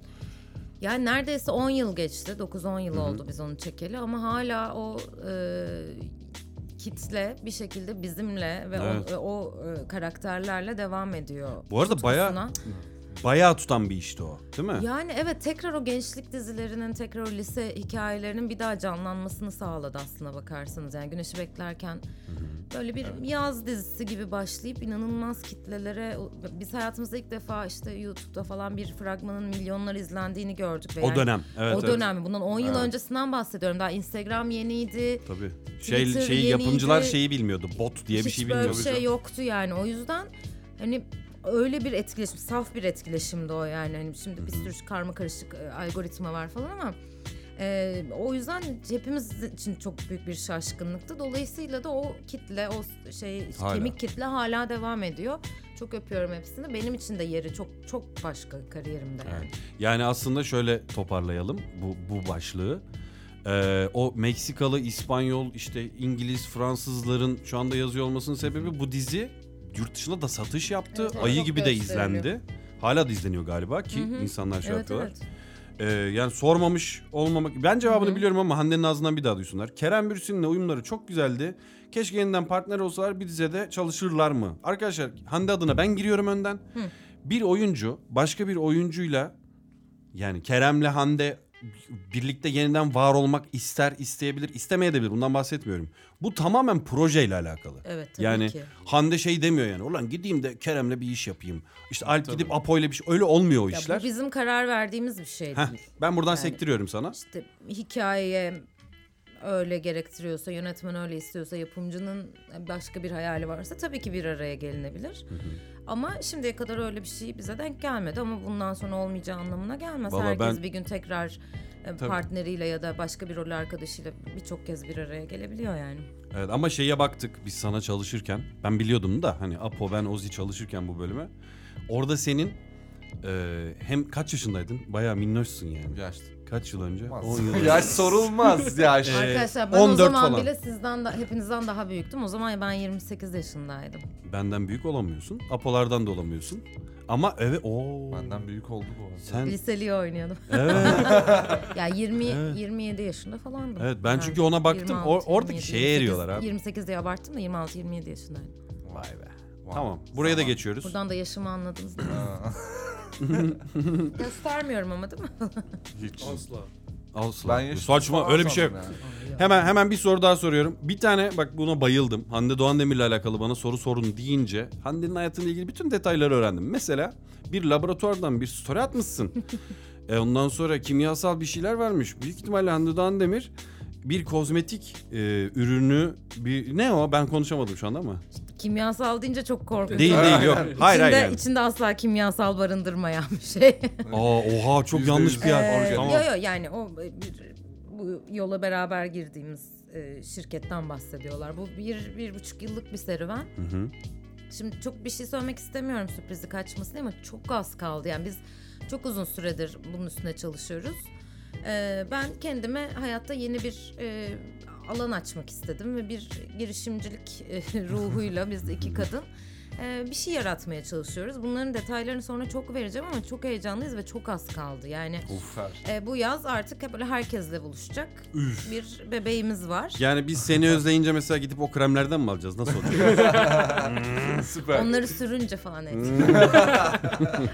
Speaker 1: Yani neredeyse 10 yıl geçti. 9-10 yıl oldu biz onu çekeli ama hala o e, kitle bir şekilde bizimle ve o,
Speaker 2: Evet.
Speaker 1: e, o, e, karakterlerle devam ediyor.
Speaker 2: Bu arada bayağı-
Speaker 1: tutkusuna.
Speaker 2: Bayağı tutan bir işti o değil mi?
Speaker 1: Yani evet tekrar o gençlik dizilerinin tekrar o lise hikayelerinin bir daha canlanmasını sağladı aslına bakarsanız. Yani Güneşi Beklerken böyle bir yaz dizisi gibi başlayıp inanılmaz kitlelere biz hayatımızda ilk defa işte YouTube'da falan bir fragmanın milyonlar izlendiğini gördük. ve
Speaker 2: o
Speaker 1: yani
Speaker 2: dönem. Evet,
Speaker 1: o
Speaker 2: evet.
Speaker 1: dönem bundan 10 yıl öncesinden bahsediyorum. Daha Instagram yeniydi.
Speaker 2: Tabii. Şey,
Speaker 1: Twitter
Speaker 2: şeyi,
Speaker 1: yeniydi.
Speaker 2: yapımcılar şeyi bilmiyordu. Bot diye bir
Speaker 1: Hiç
Speaker 2: şey
Speaker 1: böyle bir
Speaker 2: bilmiyordu.
Speaker 1: şey yoktu yani. O yüzden hani öyle bir etkileşim, saf bir etkileşimdi o yani. Hani şimdi bir sürü karma karışık e, algoritma var falan ama e, o yüzden hepimiz için çok büyük bir şaşkınlıktı. Dolayısıyla da o kitle, o şey
Speaker 2: Hala.
Speaker 1: kemik kitle hala devam ediyor. Çok öpüyorum hepsini. Benim için de yeri çok çok başka kariyerimde yani.
Speaker 2: Evet. Yani aslında şöyle toparlayalım bu, bu başlığı. Ee, o Meksikalı, İspanyol, işte İngiliz, Fransızların şu anda yazıyor olmasının sebebi bu dizi yurt dışında da satış yaptı.
Speaker 1: Evet, evet,
Speaker 2: Ayı
Speaker 1: çok
Speaker 2: gibi de
Speaker 1: gösteriliyor.
Speaker 2: izlendi. Hala da izleniyor galiba ki
Speaker 1: Hı hı.
Speaker 2: insanlar şey
Speaker 1: Evet
Speaker 2: yapıyorlar.
Speaker 1: evet.
Speaker 2: Ee, yani sormamış olmamak. Ben cevabını
Speaker 1: Hı hı.
Speaker 2: biliyorum ama Hande'nin ağzından bir daha duysunlar. Kerem Bürsin'le uyumları çok güzeldi. Keşke yeniden partner olsalar bir dizede çalışırlar mı? Arkadaşlar Hande adına ben giriyorum önden. Bir oyuncu başka bir oyuncuyla yani Kerem'le Hande birlikte yeniden var olmak ister, isteyebilir, istemeyebilir. Bundan bahsetmiyorum. Bu tamamen projeyle alakalı.
Speaker 1: Evet tabii
Speaker 2: yani
Speaker 1: ki.
Speaker 2: Hande şey demiyor yani. Ulan gideyim de Kerem'le bir iş yapayım. İşte Alp gidip Apo'yla bir şey. Öyle olmuyor o
Speaker 1: Ya
Speaker 2: işler.
Speaker 1: bu bizim karar verdiğimiz bir şey
Speaker 2: Heh,
Speaker 1: değil.
Speaker 2: ben buradan
Speaker 1: Yani-
Speaker 2: sektiriyorum sana.
Speaker 1: İşte hikayeye öyle gerektiriyorsa, yönetmen öyle istiyorsa, yapımcının başka bir hayali varsa tabii ki bir araya gelinebilir. Ama şimdiye kadar öyle bir şey bize denk gelmedi ama bundan sonra olmayacağı anlamına gelmez.
Speaker 2: Valla
Speaker 1: Herkes
Speaker 2: ben-
Speaker 1: bir gün tekrar e, partneriyle ya da başka bir rol arkadaşıyla birçok kez bir araya gelebiliyor yani.
Speaker 2: Evet ama şeye baktık biz sana çalışırken. Ben biliyordum da hani Apo ben Ozi çalışırken bu bölüme. Orada senin e, hem kaç yaşındaydın? Bayağı minnoşsun yani.
Speaker 4: Yaşlı.
Speaker 2: Kaç yıl önce?
Speaker 4: Olmaz.
Speaker 2: 10 yıl önce.
Speaker 4: Yaş sorulmaz yaş.
Speaker 2: Ee,
Speaker 1: Arkadaşlar ben o
Speaker 2: 14
Speaker 1: zaman
Speaker 2: falan.
Speaker 1: bile sizden da hepinizden daha büyüktüm. O zaman ben 28 yaşındaydım.
Speaker 2: Benden büyük olamıyorsun. Apolardan da olamıyorsun. Ama evet o.
Speaker 4: Benden büyük oldu bu arada.
Speaker 2: Sen
Speaker 1: Liseliği oynuyordum.
Speaker 2: evet.
Speaker 1: Ya 20
Speaker 2: Evet.
Speaker 1: 27 yaşında falandım.
Speaker 2: evet ben
Speaker 1: Yani
Speaker 2: çünkü ona baktım. O-
Speaker 1: 26,
Speaker 2: oradaki
Speaker 1: 27,
Speaker 2: şeye eriyorlar
Speaker 1: 28,
Speaker 2: abi.
Speaker 1: 28 diye abarttım da 26 27 yaşındaydım.
Speaker 2: Vay be. Tamam. Buraya da
Speaker 4: Tamam.
Speaker 2: geçiyoruz.
Speaker 1: Buradan da yaşımı anladınız değil mi?
Speaker 4: Aa,
Speaker 1: Göstermiyorum ama değil mi?
Speaker 4: hiç.
Speaker 3: Asla.
Speaker 2: Asla.
Speaker 4: Ben yaşlı
Speaker 2: Saçma
Speaker 4: falan
Speaker 2: öyle bir şey yok.
Speaker 4: sandım yani.
Speaker 2: Hemen hemen bir soru daha soruyorum. Bir tane bak buna bayıldım. Hande Doğan Demir'le alakalı bana soru sorun deyince Hande'nin hayatıyla ilgili bütün detayları öğrendim. Mesela bir laboratuvardan bir story atmışsın. e ondan sonra kimyasal bir şeyler vermiş. Büyük ihtimalle Hande Doğan Demir bir kozmetik e, ürünü bir ne o ben konuşamadım şu anda ama.
Speaker 1: Kimyasal deyince çok korkunç.
Speaker 2: Değil değil yok. Hayır hayır.
Speaker 1: içinde,
Speaker 2: yani.
Speaker 1: içinde asla kimyasal barındırmayan bir şey.
Speaker 2: Aa oha çok
Speaker 4: Yüzde
Speaker 2: yanlış
Speaker 4: yüz.
Speaker 2: bir yer.
Speaker 1: Ee,
Speaker 2: Tamam.
Speaker 1: Yo yo yani o e, bir, bu yola beraber girdiğimiz e, şirketten bahsediyorlar. Bu bir, bir buçuk yıllık bir serüven.
Speaker 2: Hı hı.
Speaker 1: Şimdi çok bir şey söylemek istemiyorum sürprizi kaçmasın ama çok az kaldı. Yani biz çok uzun süredir bunun üstüne çalışıyoruz. Ee, ben kendime hayatta yeni bir e, alan açmak istedim ve bir girişimcilik e, ruhuyla biz iki kadın e, bir şey yaratmaya çalışıyoruz. Bunların detaylarını sonra çok vereceğim ama çok heyecanlıyız ve çok az kaldı. Yani
Speaker 4: Ufer.
Speaker 1: e, bu yaz artık hep böyle herkesle buluşacak bir bebeğimiz var.
Speaker 2: Yani biz seni özleyince mesela gidip o kremlerden mi alacağız? Nasıl olacak?
Speaker 4: Süper.
Speaker 1: Onları sürünce falan et.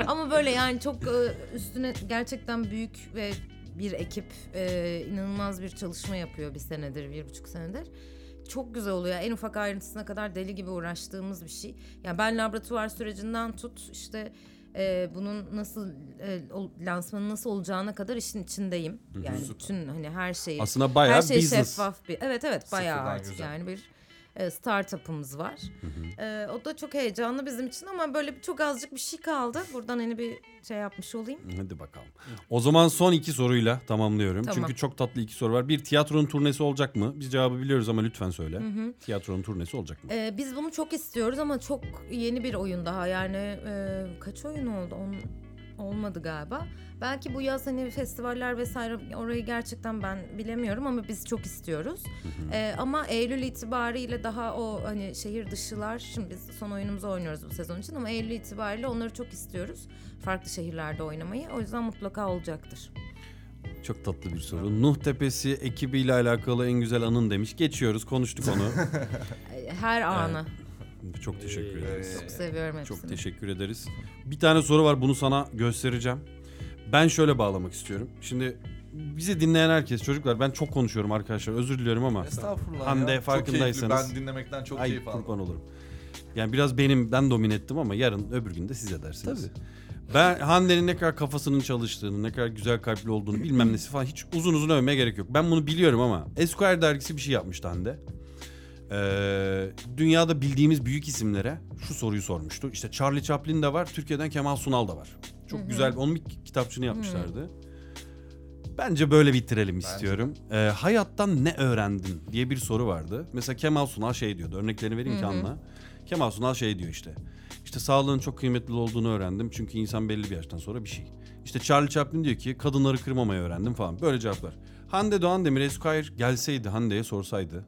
Speaker 1: Ama böyle yani çok e, üstüne gerçekten büyük ve bir ekip e, inanılmaz bir çalışma yapıyor bir senedir, bir buçuk senedir. Çok güzel oluyor. En ufak ayrıntısına kadar deli gibi uğraştığımız bir şey. Yani ben laboratuvar sürecinden tut işte e, bunun nasıl e, ol- lansmanı nasıl olacağına kadar işin içindeyim. Yani bütün hani her şeyi
Speaker 2: Aslında bayağı
Speaker 1: her şey
Speaker 2: business.
Speaker 1: şeffaf bir. Evet evet bayağı
Speaker 4: Sıfırdan
Speaker 1: artık
Speaker 4: güzel.
Speaker 1: yani bir e, startup'ımız var. E, o da çok heyecanlı bizim için ama böyle bir- çok azıcık bir şey kaldı. Buradan hani bir şey yapmış olayım.
Speaker 2: Hadi bakalım. O zaman son iki soruyla tamamlıyorum.
Speaker 1: Tamam.
Speaker 2: Çünkü çok tatlı iki soru var. Bir tiyatronun turnesi olacak mı? Biz cevabı biliyoruz ama lütfen söyle. Tiyatronun turnesi olacak mı?
Speaker 1: E, biz bunu çok istiyoruz ama çok yeni bir oyun daha. Yani e, kaç oyun oldu? On, olmadı galiba. Belki bu yaz hani festivaller vesaire orayı gerçekten ben bilemiyorum ama biz çok istiyoruz. E, ama Eylül itibariyle daha o hani şehir dışılar şimdi biz son oyunumuzu oynuyoruz bu sezon için ama Eylül itibariyle onları çok istiyoruz. Farklı şehirlerde oynamayı. O yüzden mutlaka olacaktır.
Speaker 2: Çok tatlı bir soru. Nuh Tepesi ekibiyle alakalı en güzel anın demiş. Geçiyoruz konuştuk onu.
Speaker 1: E, Her anı.
Speaker 2: çok teşekkür
Speaker 3: Ee,
Speaker 2: ederiz.
Speaker 1: Çok seviyorum hepsini.
Speaker 2: Çok teşekkür ederiz. Bir tane soru var bunu sana göstereceğim. Ben şöyle bağlamak istiyorum. Şimdi bizi dinleyen herkes çocuklar ben çok konuşuyorum arkadaşlar özür diliyorum ama
Speaker 4: Estağfurullah
Speaker 2: Hande,
Speaker 4: ya. Çok
Speaker 2: farkındaysanız-
Speaker 4: keyifli. Ben dinlemekten çok
Speaker 2: Ay
Speaker 4: keyif aldım.
Speaker 2: kurban olurum. Yani biraz benim ben domine ettim ama yarın öbür gün de siz edersiniz. Ben Hande'nin ne kadar kafasının çalıştığını, ne kadar güzel kalpli olduğunu bilmem nesi falan hiç uzun uzun övmeye gerek yok. Ben bunu biliyorum ama Esquire dergisi bir şey yapmıştı Hande. Ee, dünyada bildiğimiz büyük isimlere şu soruyu sormuştu. İşte Charlie Chaplin de var, Türkiye'den Kemal Sunal da var. Çok güzel. Onun bir kitapçığını yapmışlardı. Bence böyle bitirelim istiyorum. Ee, hayattan ne öğrendin diye bir soru vardı. Mesela Kemal Sunal şey diyordu. Örneklerini vereyim ki anla. Kemal Sunal şey diyor işte. İşte sağlığın çok kıymetli olduğunu öğrendim. Çünkü insan belli bir yaştan sonra bir şey. İşte Charlie Chaplin diyor ki kadınları kırmamayı öğrendim falan. Böyle cevaplar. Hande Doğan Demir Esquire gelseydi Hande'ye sorsaydı.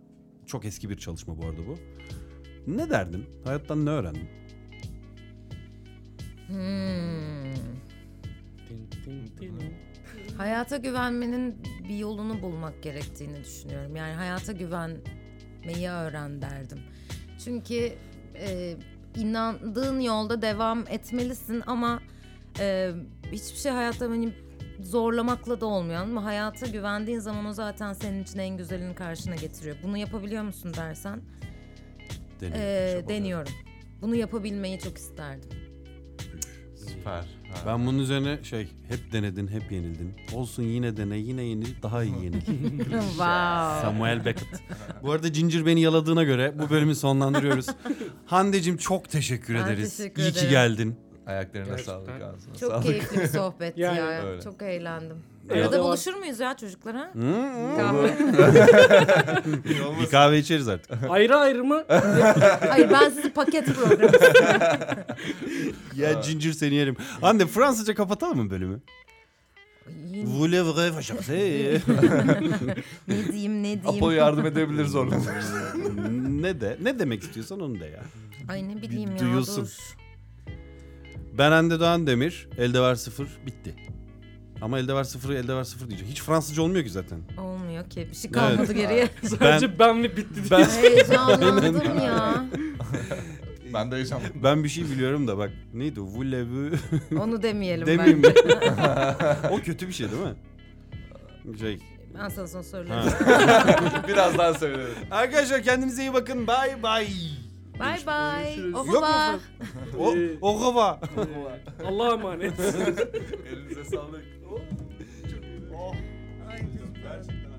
Speaker 2: Çok eski bir çalışma bu arada bu. Ne derdin? Hayattan ne öğrendin?
Speaker 1: Hmm.
Speaker 3: Tin, tin, tin.
Speaker 1: Hayata güvenmenin bir yolunu bulmak gerektiğini düşünüyorum. Yani hayata güvenmeyi öğren derdim. Çünkü e, inandığın yolda devam etmelisin ama e, hiçbir şey hayatta hani zorlamakla da olmuyor ama hayata güvendiğin zaman o zaten senin için en güzelini karşına getiriyor. Bunu yapabiliyor musun dersen
Speaker 2: Deniyor.
Speaker 1: e,
Speaker 4: çabalıyor.
Speaker 1: deniyorum. Bunu yapabilmeyi çok isterdim.
Speaker 4: Süper. Ha.
Speaker 2: Ben bunun üzerine şey hep denedin hep yenildin. Olsun yine dene yine yenil daha iyi yenil.
Speaker 1: wow.
Speaker 2: Samuel Beckett. Bu arada Ginger beni yaladığına göre bu bölümü sonlandırıyoruz. Hande'cim çok teşekkür
Speaker 1: Ben
Speaker 2: ederiz.
Speaker 1: teşekkür
Speaker 2: iyi ki
Speaker 1: ederim.
Speaker 2: geldin.
Speaker 4: Ayaklarına
Speaker 3: Gerçekten.
Speaker 4: sağlık ağzına
Speaker 1: Çok
Speaker 4: sağlık.
Speaker 1: keyifli bir sohbet
Speaker 3: Yani
Speaker 1: ya.
Speaker 4: öyle.
Speaker 1: Çok eğlendim.
Speaker 3: Evet,
Speaker 1: Arada
Speaker 3: o-
Speaker 1: buluşur muyuz ya çocuklar ha?
Speaker 2: Hı, hı.
Speaker 1: Kahve.
Speaker 2: Hmm. Bir kahve içeriz artık.
Speaker 3: Ayrı ayrı mı?
Speaker 1: Hayır ben sizi paket programı.
Speaker 2: ya Ginger seni yerim. Hande Fransızca kapatalım mı bölümü?
Speaker 1: Yine-
Speaker 2: Voulez-vous rechercher?
Speaker 1: ne diyeyim ne diyeyim.
Speaker 4: Apo yardım edebilir zorla.
Speaker 2: ne de ne demek istiyorsan onu de ya.
Speaker 1: Ay ne bileyim ya
Speaker 2: duyulsun.
Speaker 1: dur.
Speaker 2: Ben Hande Doğan Demir. Elde var sıfır. Bitti. Ama elde var sıfırı elde var sıfır diyeceğim. Hiç Fransızca olmuyor ki zaten.
Speaker 1: Olmuyor ki bir şey kalmadı geriye.
Speaker 2: şey-
Speaker 3: Sadece ben, mi bitti diye.
Speaker 2: Ben
Speaker 1: Heyecanlandım ya.
Speaker 4: Ben de heyecanlandım.
Speaker 2: Ben bir şey biliyorum da bak neydi o? Vulevu
Speaker 1: Onu demeyelim
Speaker 2: demeyeyim mi?
Speaker 1: bence.
Speaker 2: o kötü bir şey değil mi? Şey.
Speaker 1: Ben sana sonra
Speaker 2: Ha.
Speaker 1: söylüyorum.
Speaker 4: Birazdan söylerim.
Speaker 2: Arkadaşlar kendinize iyi bakın. Bay bay.
Speaker 1: Bye bye.
Speaker 3: Görüşürüz.
Speaker 1: Au
Speaker 2: Yok mu
Speaker 1: revoir.
Speaker 2: O, o kova.
Speaker 3: Allah'a emanet.
Speaker 4: Elinize sağlık. Oh. Çok iyi. Oh. Gerçekten.